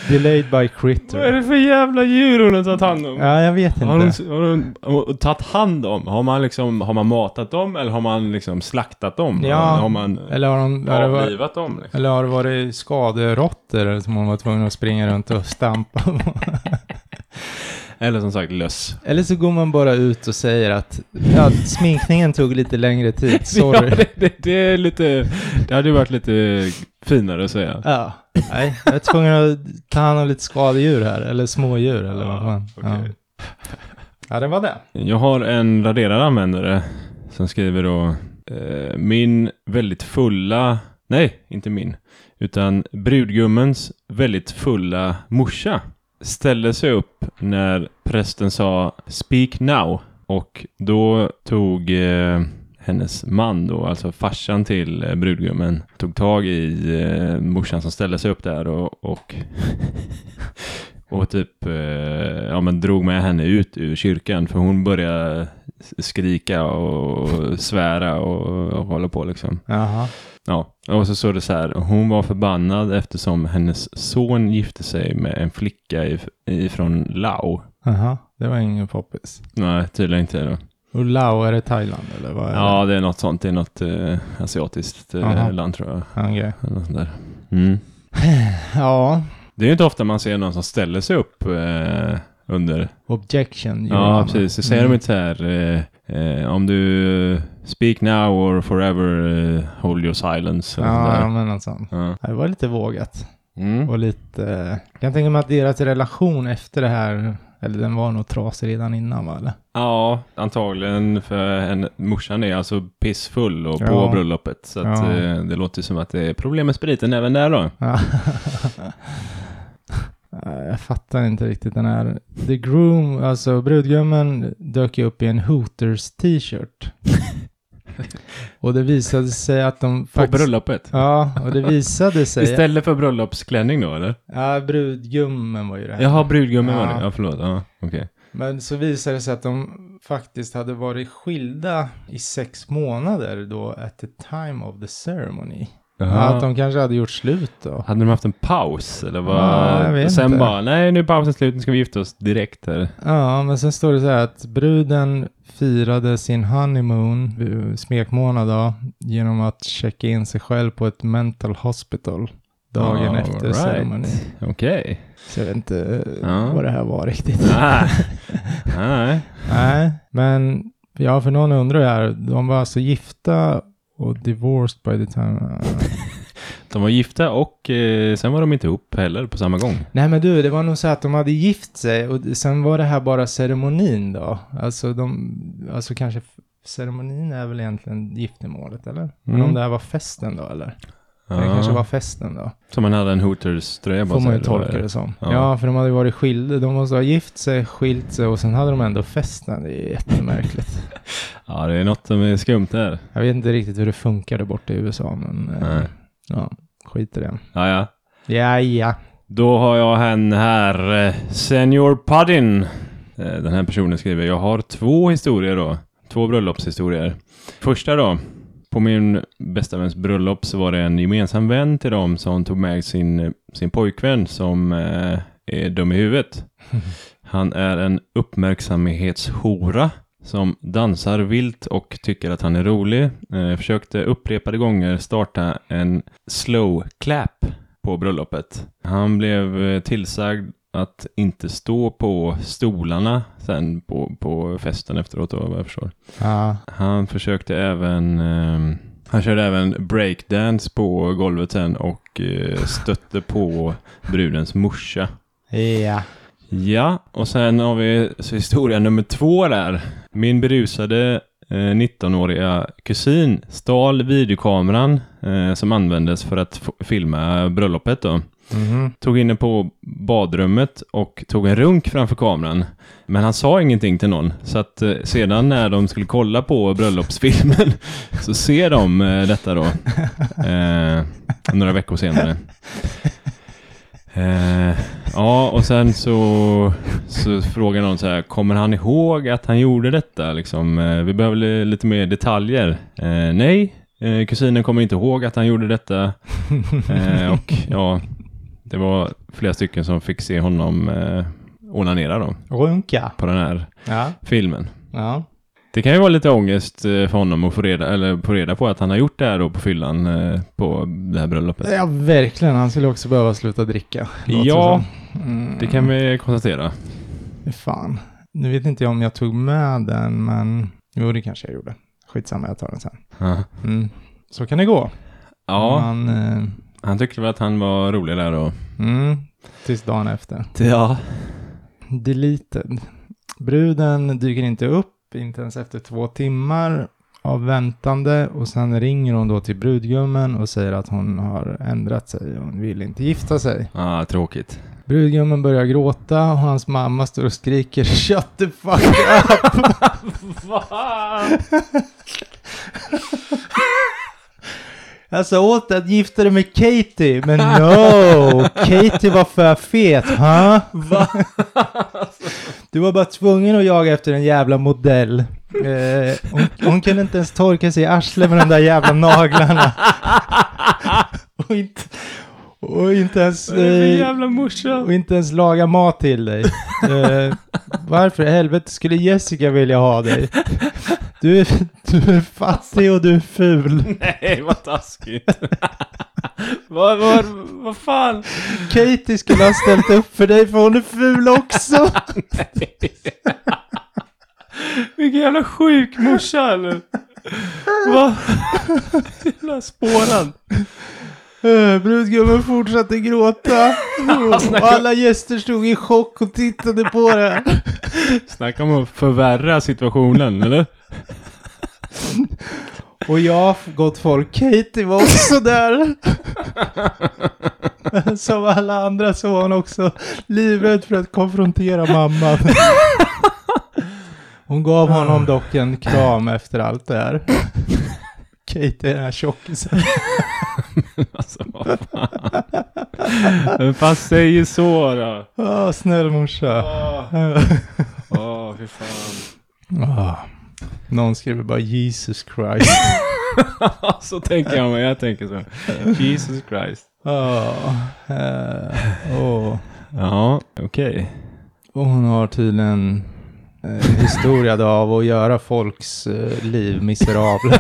A: Delayed by
B: Vad är
A: critter.
B: det för jävla djur hon har tagit hand om?
A: Ja, jag vet
B: Har hon,
A: inte.
B: har hon, har hon tagit hand om? Har man liksom, har man matat dem eller har man liksom slaktat dem?
A: Ja,
B: Har man
A: Eller har, hon, har det varit,
B: avlivat dem? Liksom?
A: eller har det varit skaderåttor som hon var tvungen att springa runt och stampa på?
B: Eller som sagt löss.
A: Eller så går man bara ut och säger att ja, sminkningen tog lite längre tid,
B: Ja,
A: sorry.
B: det, det, det är lite, det hade ju varit lite finare att säga.
A: Ja, nej, jag är tvungen att ta hand om lite skadedjur här, eller smådjur eller vad fan.
B: okej.
A: Ja. ja, det var det.
B: Jag har en raderad användare som skriver då eh, min väldigt fulla, nej inte min, utan brudgummens väldigt fulla morsa ställde sig upp när prästen sa speak now och då tog eh, hennes man då, alltså farsan till eh, brudgummen, tog tag i eh, morsan som ställde sig upp där och, och och typ eh, ja, men drog med henne ut ur kyrkan för hon började skrika och svära och, och hålla på liksom.
A: Jaha.
B: Ja, och så står det så här. Hon var förbannad eftersom hennes son gifte sig med en flicka if- ifrån Lao.
A: Jaha, det var ingen poppis.
B: Nej, tydligen inte då.
A: Och Lao, är det Thailand eller vad är
B: Ja, det är något sånt. Det är något eh, asiatiskt eh,
A: Aha.
B: land tror jag.
A: det? Okej.
B: Eller något sånt där. Mm.
A: Ja,
B: Det är ju inte ofta man ser någon som ställer sig upp eh, under
A: objection.
B: Ja, precis. Så
A: Mm.
B: säger de inte så här, eh, eh, om du eh, speak now or forever eh, hold your silence. eller sånt
A: Mm. Ja,
B: där.
A: men alltså. något sånt.
B: Ja.
A: Ja, Det var lite vågat.
B: Mm.
A: Och lite... Jag kan tänka mig att deras relation efter det här, eller den var nog trasig redan innan va? Eller?
B: ja, antagligen för henne, morsan är alltså pissfull och på
A: Ja.
B: bröllopet. Så att,
A: Ja.
B: eh, det låter som att det är problem med spriten även där då.
A: Ja. Nej, Jag fattar inte riktigt den här. The groom, alltså brudgummen dök ju upp i en Hooters t-shirt. och det visade sig att de
B: På bröllopet.
A: Ja, och det visade sig...
B: Istället för bröllopsklänning då eller?
A: Ja, brudgummen var ju det här.
B: Jaha, brudgummen var det.
A: Ja.
B: Ja, förlåt. Ja, okej.
A: Men så visade det sig att de faktiskt hade varit skilda i sex månader då at the time of the ceremony. Ja,
B: Jaha.
A: att de kanske hade gjort slut då.
B: Hade de haft en paus eller vad?
A: Ja, jag vet
B: och sen
A: inte.
B: bara, nej nu är pausen slut, nu ska vi gifta oss direkt här.
A: Ja, men sen står det så här att bruden firade sin honeymoon, eh, smekmånad då, genom att checka in sig själv på ett mental hospital dagen
B: All
A: efter
B: right.
A: ceremonin.
B: Okej.
A: Så jag vet inte eh,
B: Ja.
A: vad det här var riktigt.
B: Nej. Nej.
A: Nej, men ja, för någon undrar ju här, de var alltså gifta och divorced by the time... eh.
B: De var gifta och eh, sen var de inte ihop heller på samma gång.
A: Nej men du, det var nog så att de hade gift sig och sen var det här bara ceremonin då. Alltså de, alltså kanske f- ceremonin är väl egentligen giftermålet eller? Men
B: Mm.
A: om det här var festen då eller? Det
B: Ja.
A: kanske var festen då.
B: Så man hade en Hooters-tröja på
A: Får man ju
B: sig, eller vad
A: tolka
B: är
A: det som.
B: Ja.
A: Ja. för de hade ju varit skilda. De måste ha gift sig, skilt sig och sen hade de ändå festen. Det är jättemärkligt.
B: Ja, det är något som är skumt där.
A: Jag vet inte riktigt hur det funkar där borta i USA men eh,
B: Nej.
A: ja, skit i det.
B: Ja, ja.
A: Ja, ja.
B: Då har jag henne här, eh, Senior Puddin. Eh, Den här personen skriver, jag har två historier då. Två bröllopshistorier. Första då. På min bästa väns bröllop så var det en gemensam vän till dem som tog med sin, sin pojkvän som eh, är dum i huvudet. Han är en uppmärksamhetshora som dansar vilt och tycker att han är rolig. Eh, försökte upprepade gånger starta en slow clap på bröllopet. Han blev eh, tillsagd att inte stå på stolarna sen på, på festen efteråt då, vad jag förstår.
A: Ja.
B: Han försökte även ehm, han körde även breakdance på golvet sen och eh, stötte på brudens morsa.
A: Ja.
B: Ja, och sen har vi så historia nummer två där. Min berusade eh, 19-åriga kusin stal videokameran eh, som användes för att f- filma bröllopet då.
A: Mhm.
B: Tog in den på badrummet och tog en runk framför kameran. Men han sa ingenting till någon, så att eh, sedan när de skulle kolla på bröllopsfilmen så ser de eh, detta då. Eh, några veckor senare. Eh, ja, och sen så, så frågar någon så här, kommer han ihåg att han gjorde detta? Liksom, eh, vi behöver li- lite mer detaljer. Eh, nej, eh, kusinen kommer inte ihåg att han gjorde detta. Eh, och ja, det var flera stycken som fick se honom eh, onanera då,
A: Runka.
B: på den här
A: Ja.
B: filmen.
A: Ja.
B: Det kan ju vara lite ångest eh, för honom att få reda, eller få reda på att han har gjort det här då på fyllan eh, på det här bröllopet.
A: ja, verkligen. Han skulle också behöva sluta dricka. låter
B: Ja,
A: som. Mm.
B: det kan vi konstatera.
A: Fy Fan. Nu vet inte jag om jag tog med den, men jo, det kanske jag gjorde. Skitsamma, jag tar den sen.
B: Ja.
A: Mm. Så kan det gå.
B: Ja,
A: Man, eh,
B: han tyckte väl att han var rolig där då.
A: mm, tills dagen efter.
B: Ja.
A: Deleted. Bruden dyker inte upp, inte ens efter två timmar av väntande och sen ringer hon då till brudgummen och säger att hon har ändrat sig och hon vill inte gifta sig.
B: Ah, tråkigt.
A: Brudgummen börjar gråta och hans mamma står och skriker shut the fuck up. Jag sa Alltså, åt dig att gifta dig med Katie, men no! Katie var för fet, ha? Du var bara tvungen att jaga efter en jävla modell. Eh, hon, hon kunde inte ens torka sig i arslet med de där jävla naglarna. och, inte, och inte ens... Eh,
B: morsa?
A: och inte ens laga mat till dig. Eh, varför i helvete skulle Jessica vilja ha dig? Du är, du är fattig och du är ful.
B: Nej, vad taskigt. vad, vad, vad fan?
A: Katie skulle ha ställt upp för dig för hon är ful också.
B: Vilken jävla sjuk morsa eller? Vad? Jävla spårad.
A: Eh, Brudgummen fortsatte gråta.
B: snackar-
A: Och alla gäster stod i chock och tittade på det.
B: Snacka om att förvärra situationen, eller?
A: Och jag, gott folk, Katie var också där. Men Som alla andra så var hon också livrädd för att konfrontera mamman. Hon gav honom dock en kram efter allt det här. Katie är den här tjockisen.
B: Alltså, vad fan? Vem fan säger så då?
A: Åh, Ah, snäll morsa.
B: Åh, åh, fy fan.
A: Ah. Någon skriver bara Jesus Christ.
B: så tänker jag mig, jag tänker så. Jesus Christ.
A: Ah, eh, åh.
B: Ja, okej.
A: Och hon har tydligen eh, historia då av att göra folks eh, liv miserabla.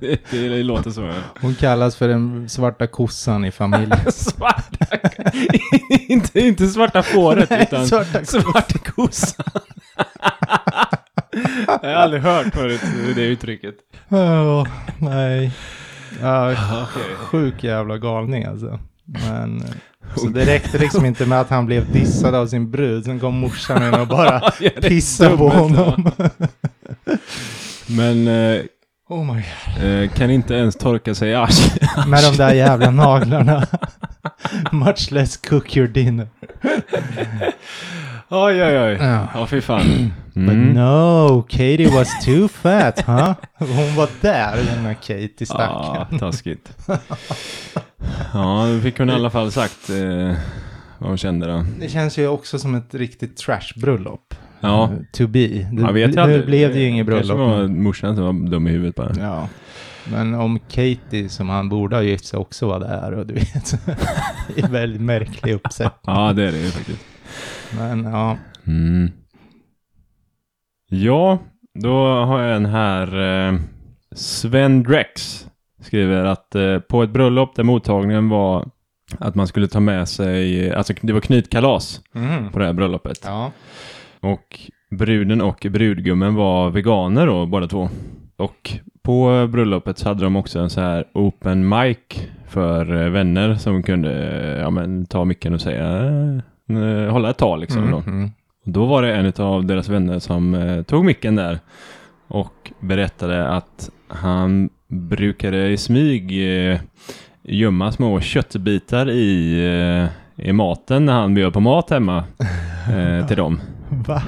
B: det, det låter så. ja.
A: Hon kallas för den svarta kossan i familjen.
B: Svarta... inte, inte svarta fåret, utan
A: svarta kossan.
B: svarta kossan. jag har aldrig hört förut det uttrycket.
A: Ja, nej. Ja,
B: Okej.
A: sjuk jävla galning alltså. Men, eh, så det räckte liksom inte med att han blev dissad av sin brud. Sen kom morsan in och bara
B: Ja, det är
A: pissade på
B: dubbelt, va?
A: honom.
B: Men eh,
A: Oh my
B: eh, kan inte ens torka sig i arslet.
A: Med de där jävla naglarna. Much less cook your dinner.
B: Oj, oj, oj.
A: Ja.
B: Ja, fy fan.
A: But
B: Mm.
A: no, Katie was too fat, huh? Hon var där, den där
B: Ah.
A: Katie stackaren.
B: Ja, taskigt. Ja, nu fick hon i alla fall sagt eh, vad hon kände då.
A: Det känns ju också som ett riktigt trash-bröllop.
B: Ja,
A: Eh, To be. Det,
B: jag vet ju
A: nu
B: aldrig.
A: blev det ju inget
B: Kanske
A: bröllop.
B: var morsan som var dum i huvudet bara.
A: Ja. Men om Katie, som han borde ha gift sig, också var där, och du vet. det är väldigt märklig uppsätt.
B: Ja, det är det ju faktiskt.
A: Men ja.
B: Mm. Ja, Då har jag en här. Eh, Sven Drex skriver att eh, på ett bröllop där mottagningen var att man skulle ta med sig, alltså det var knytkalas
A: Mm.
B: på det här bröllopet.
A: Ja.
B: Och bruden och brudgummen var veganer då, båda två. Och på bröllopet så hade de också en så här open mic för eh, vänner som kunde eh, ja, men, ta micken och säga, eh, eh, hålla ett tal liksom. Då.
A: Mm.
B: Och då var det en av deras vänner som eh, tog micken där och berättade att han brukade i smyg eh, gömma små köttbitar i, eh, i maten när han bjöd på mat hemma eh, till dem.
A: Va?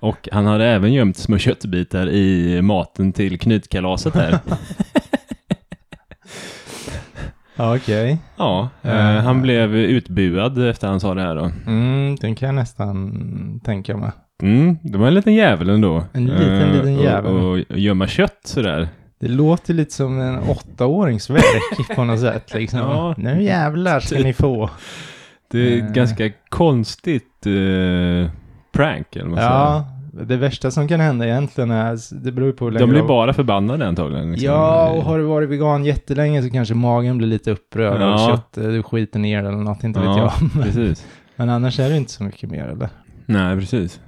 B: Och han hade även gömt små köttbitar i maten till knytkalaset här.
A: Ja, Okej.
B: ja, eh, han blev utbuad efter han sa det här då.
A: Mm, den kan jag nästan tänka mig.
B: Mm, det var en liten jävel ändå.
A: En liten, liten
B: och-
A: jävel.
B: Och, gömma kött sådär.
A: Det låter lite som en åttaårings verk på något sätt. Liksom.
B: Ja. Typ.
A: Nu jävlar ska ni få.
B: Det är ett
A: Eh.
B: ganska konstigt eh, prank eller vad man
A: Ja, det värsta som kan hända egentligen är, det beror ju på hur
B: säger. De
A: länge
B: blir
A: du-
B: bara förbannade antagligen. liksom.
A: Ja, och har du varit vegan jättelänge så kanske magen blir lite upprörd
B: Ja.
A: av kött, eh, du skiter ner eller något, inte vet
B: Ja,
A: jag.
B: precis.
A: Men annars är det inte så mycket mer eller?
B: Nej, precis.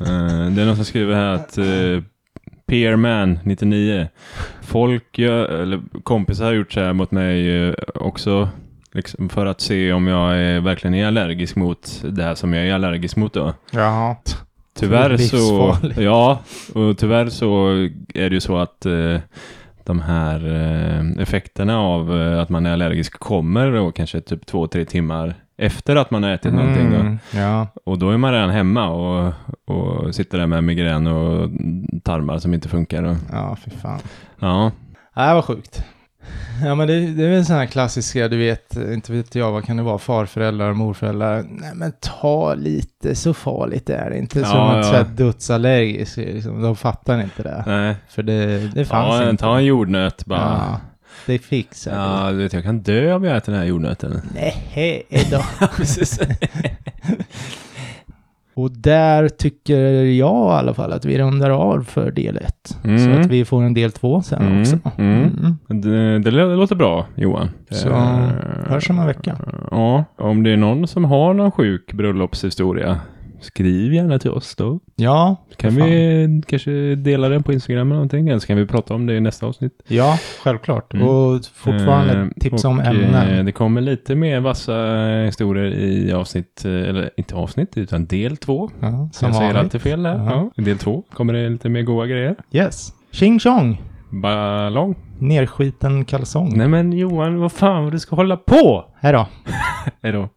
B: Eh, det är någon som skriver här att uh, Peerman 99. Folk, gör, eller kompisar har gjort så här mot mig eh, också. Liksom för att se om jag är, verkligen är allergisk mot det här som jag är allergisk mot då.
A: Jaha.
B: Tyvärr
A: Det är
B: så,
A: livsfarligt.
B: ja, och tyvärr så är det ju så att eh, de här eh, effekterna av eh, att man är allergisk kommer då kanske typ två, tre timmar efter att man har ätit Typ någonting.
A: Mm.
B: Då.
A: Ja,
B: Och då är man redan hemma och, och sitter där med migrän och tarmar som inte funkar. Och,
A: ja fy fan.
B: ja,
A: Nej, vad sjukt. Ja, men det, det är väl sådana här klassiska, du vet, inte vet jag, vad kan det vara, farföräldrar och morföräldrar. Nej, men ta lite, så farligt är det inte.
B: Ja,
A: som att
B: ja.
A: säga dödsallergisk, liksom. de fattar inte det.
B: nej.
A: För det, det fanns
B: Ta, en-
A: inte.
B: ta en jordnöt bara.
A: ja, det fixar vi.
B: Ja, du vet, jag kan dö om jag äter den här jordnöten.
A: Nej, då.
B: Precis.
A: Och där tycker jag i alla fall att vi rundar av för del 1.
B: Mm.
A: Så att vi får en del 2 sen
B: Mm,
A: också.
B: mm. Det, det lå- låter bra, Johan.
A: Så,
B: Eh,
A: hörs om en vecka.
B: Ja, om det är någon som har någon sjuk bröllopshistoria, skriv gärna till oss då.
A: Ja,
B: Kan
A: för fan.
B: vi kanske dela den på Instagram eller någonting, eller så kan vi prata om det i nästa avsnitt.
A: Ja, självklart.
B: Mm.
A: Och fortfarande
B: Eh,
A: tips
B: och,
A: om
B: eh,
A: ämnen.
B: Det kommer lite mer vassa historier i avsnitt, eh, eller inte avsnitt, utan del två.
A: ja, som
B: Som jag säger
A: vanligt.
B: alltid fel där.
A: Ja.
B: Ja. I del två kommer det lite mer goa grejer.
A: Yes. Tjing tjong!
B: Ballong.
A: Nerskiten kalsong.
B: Nej men Johan, vad fan vad du ska hålla på!
A: Hej då.
B: Hej då.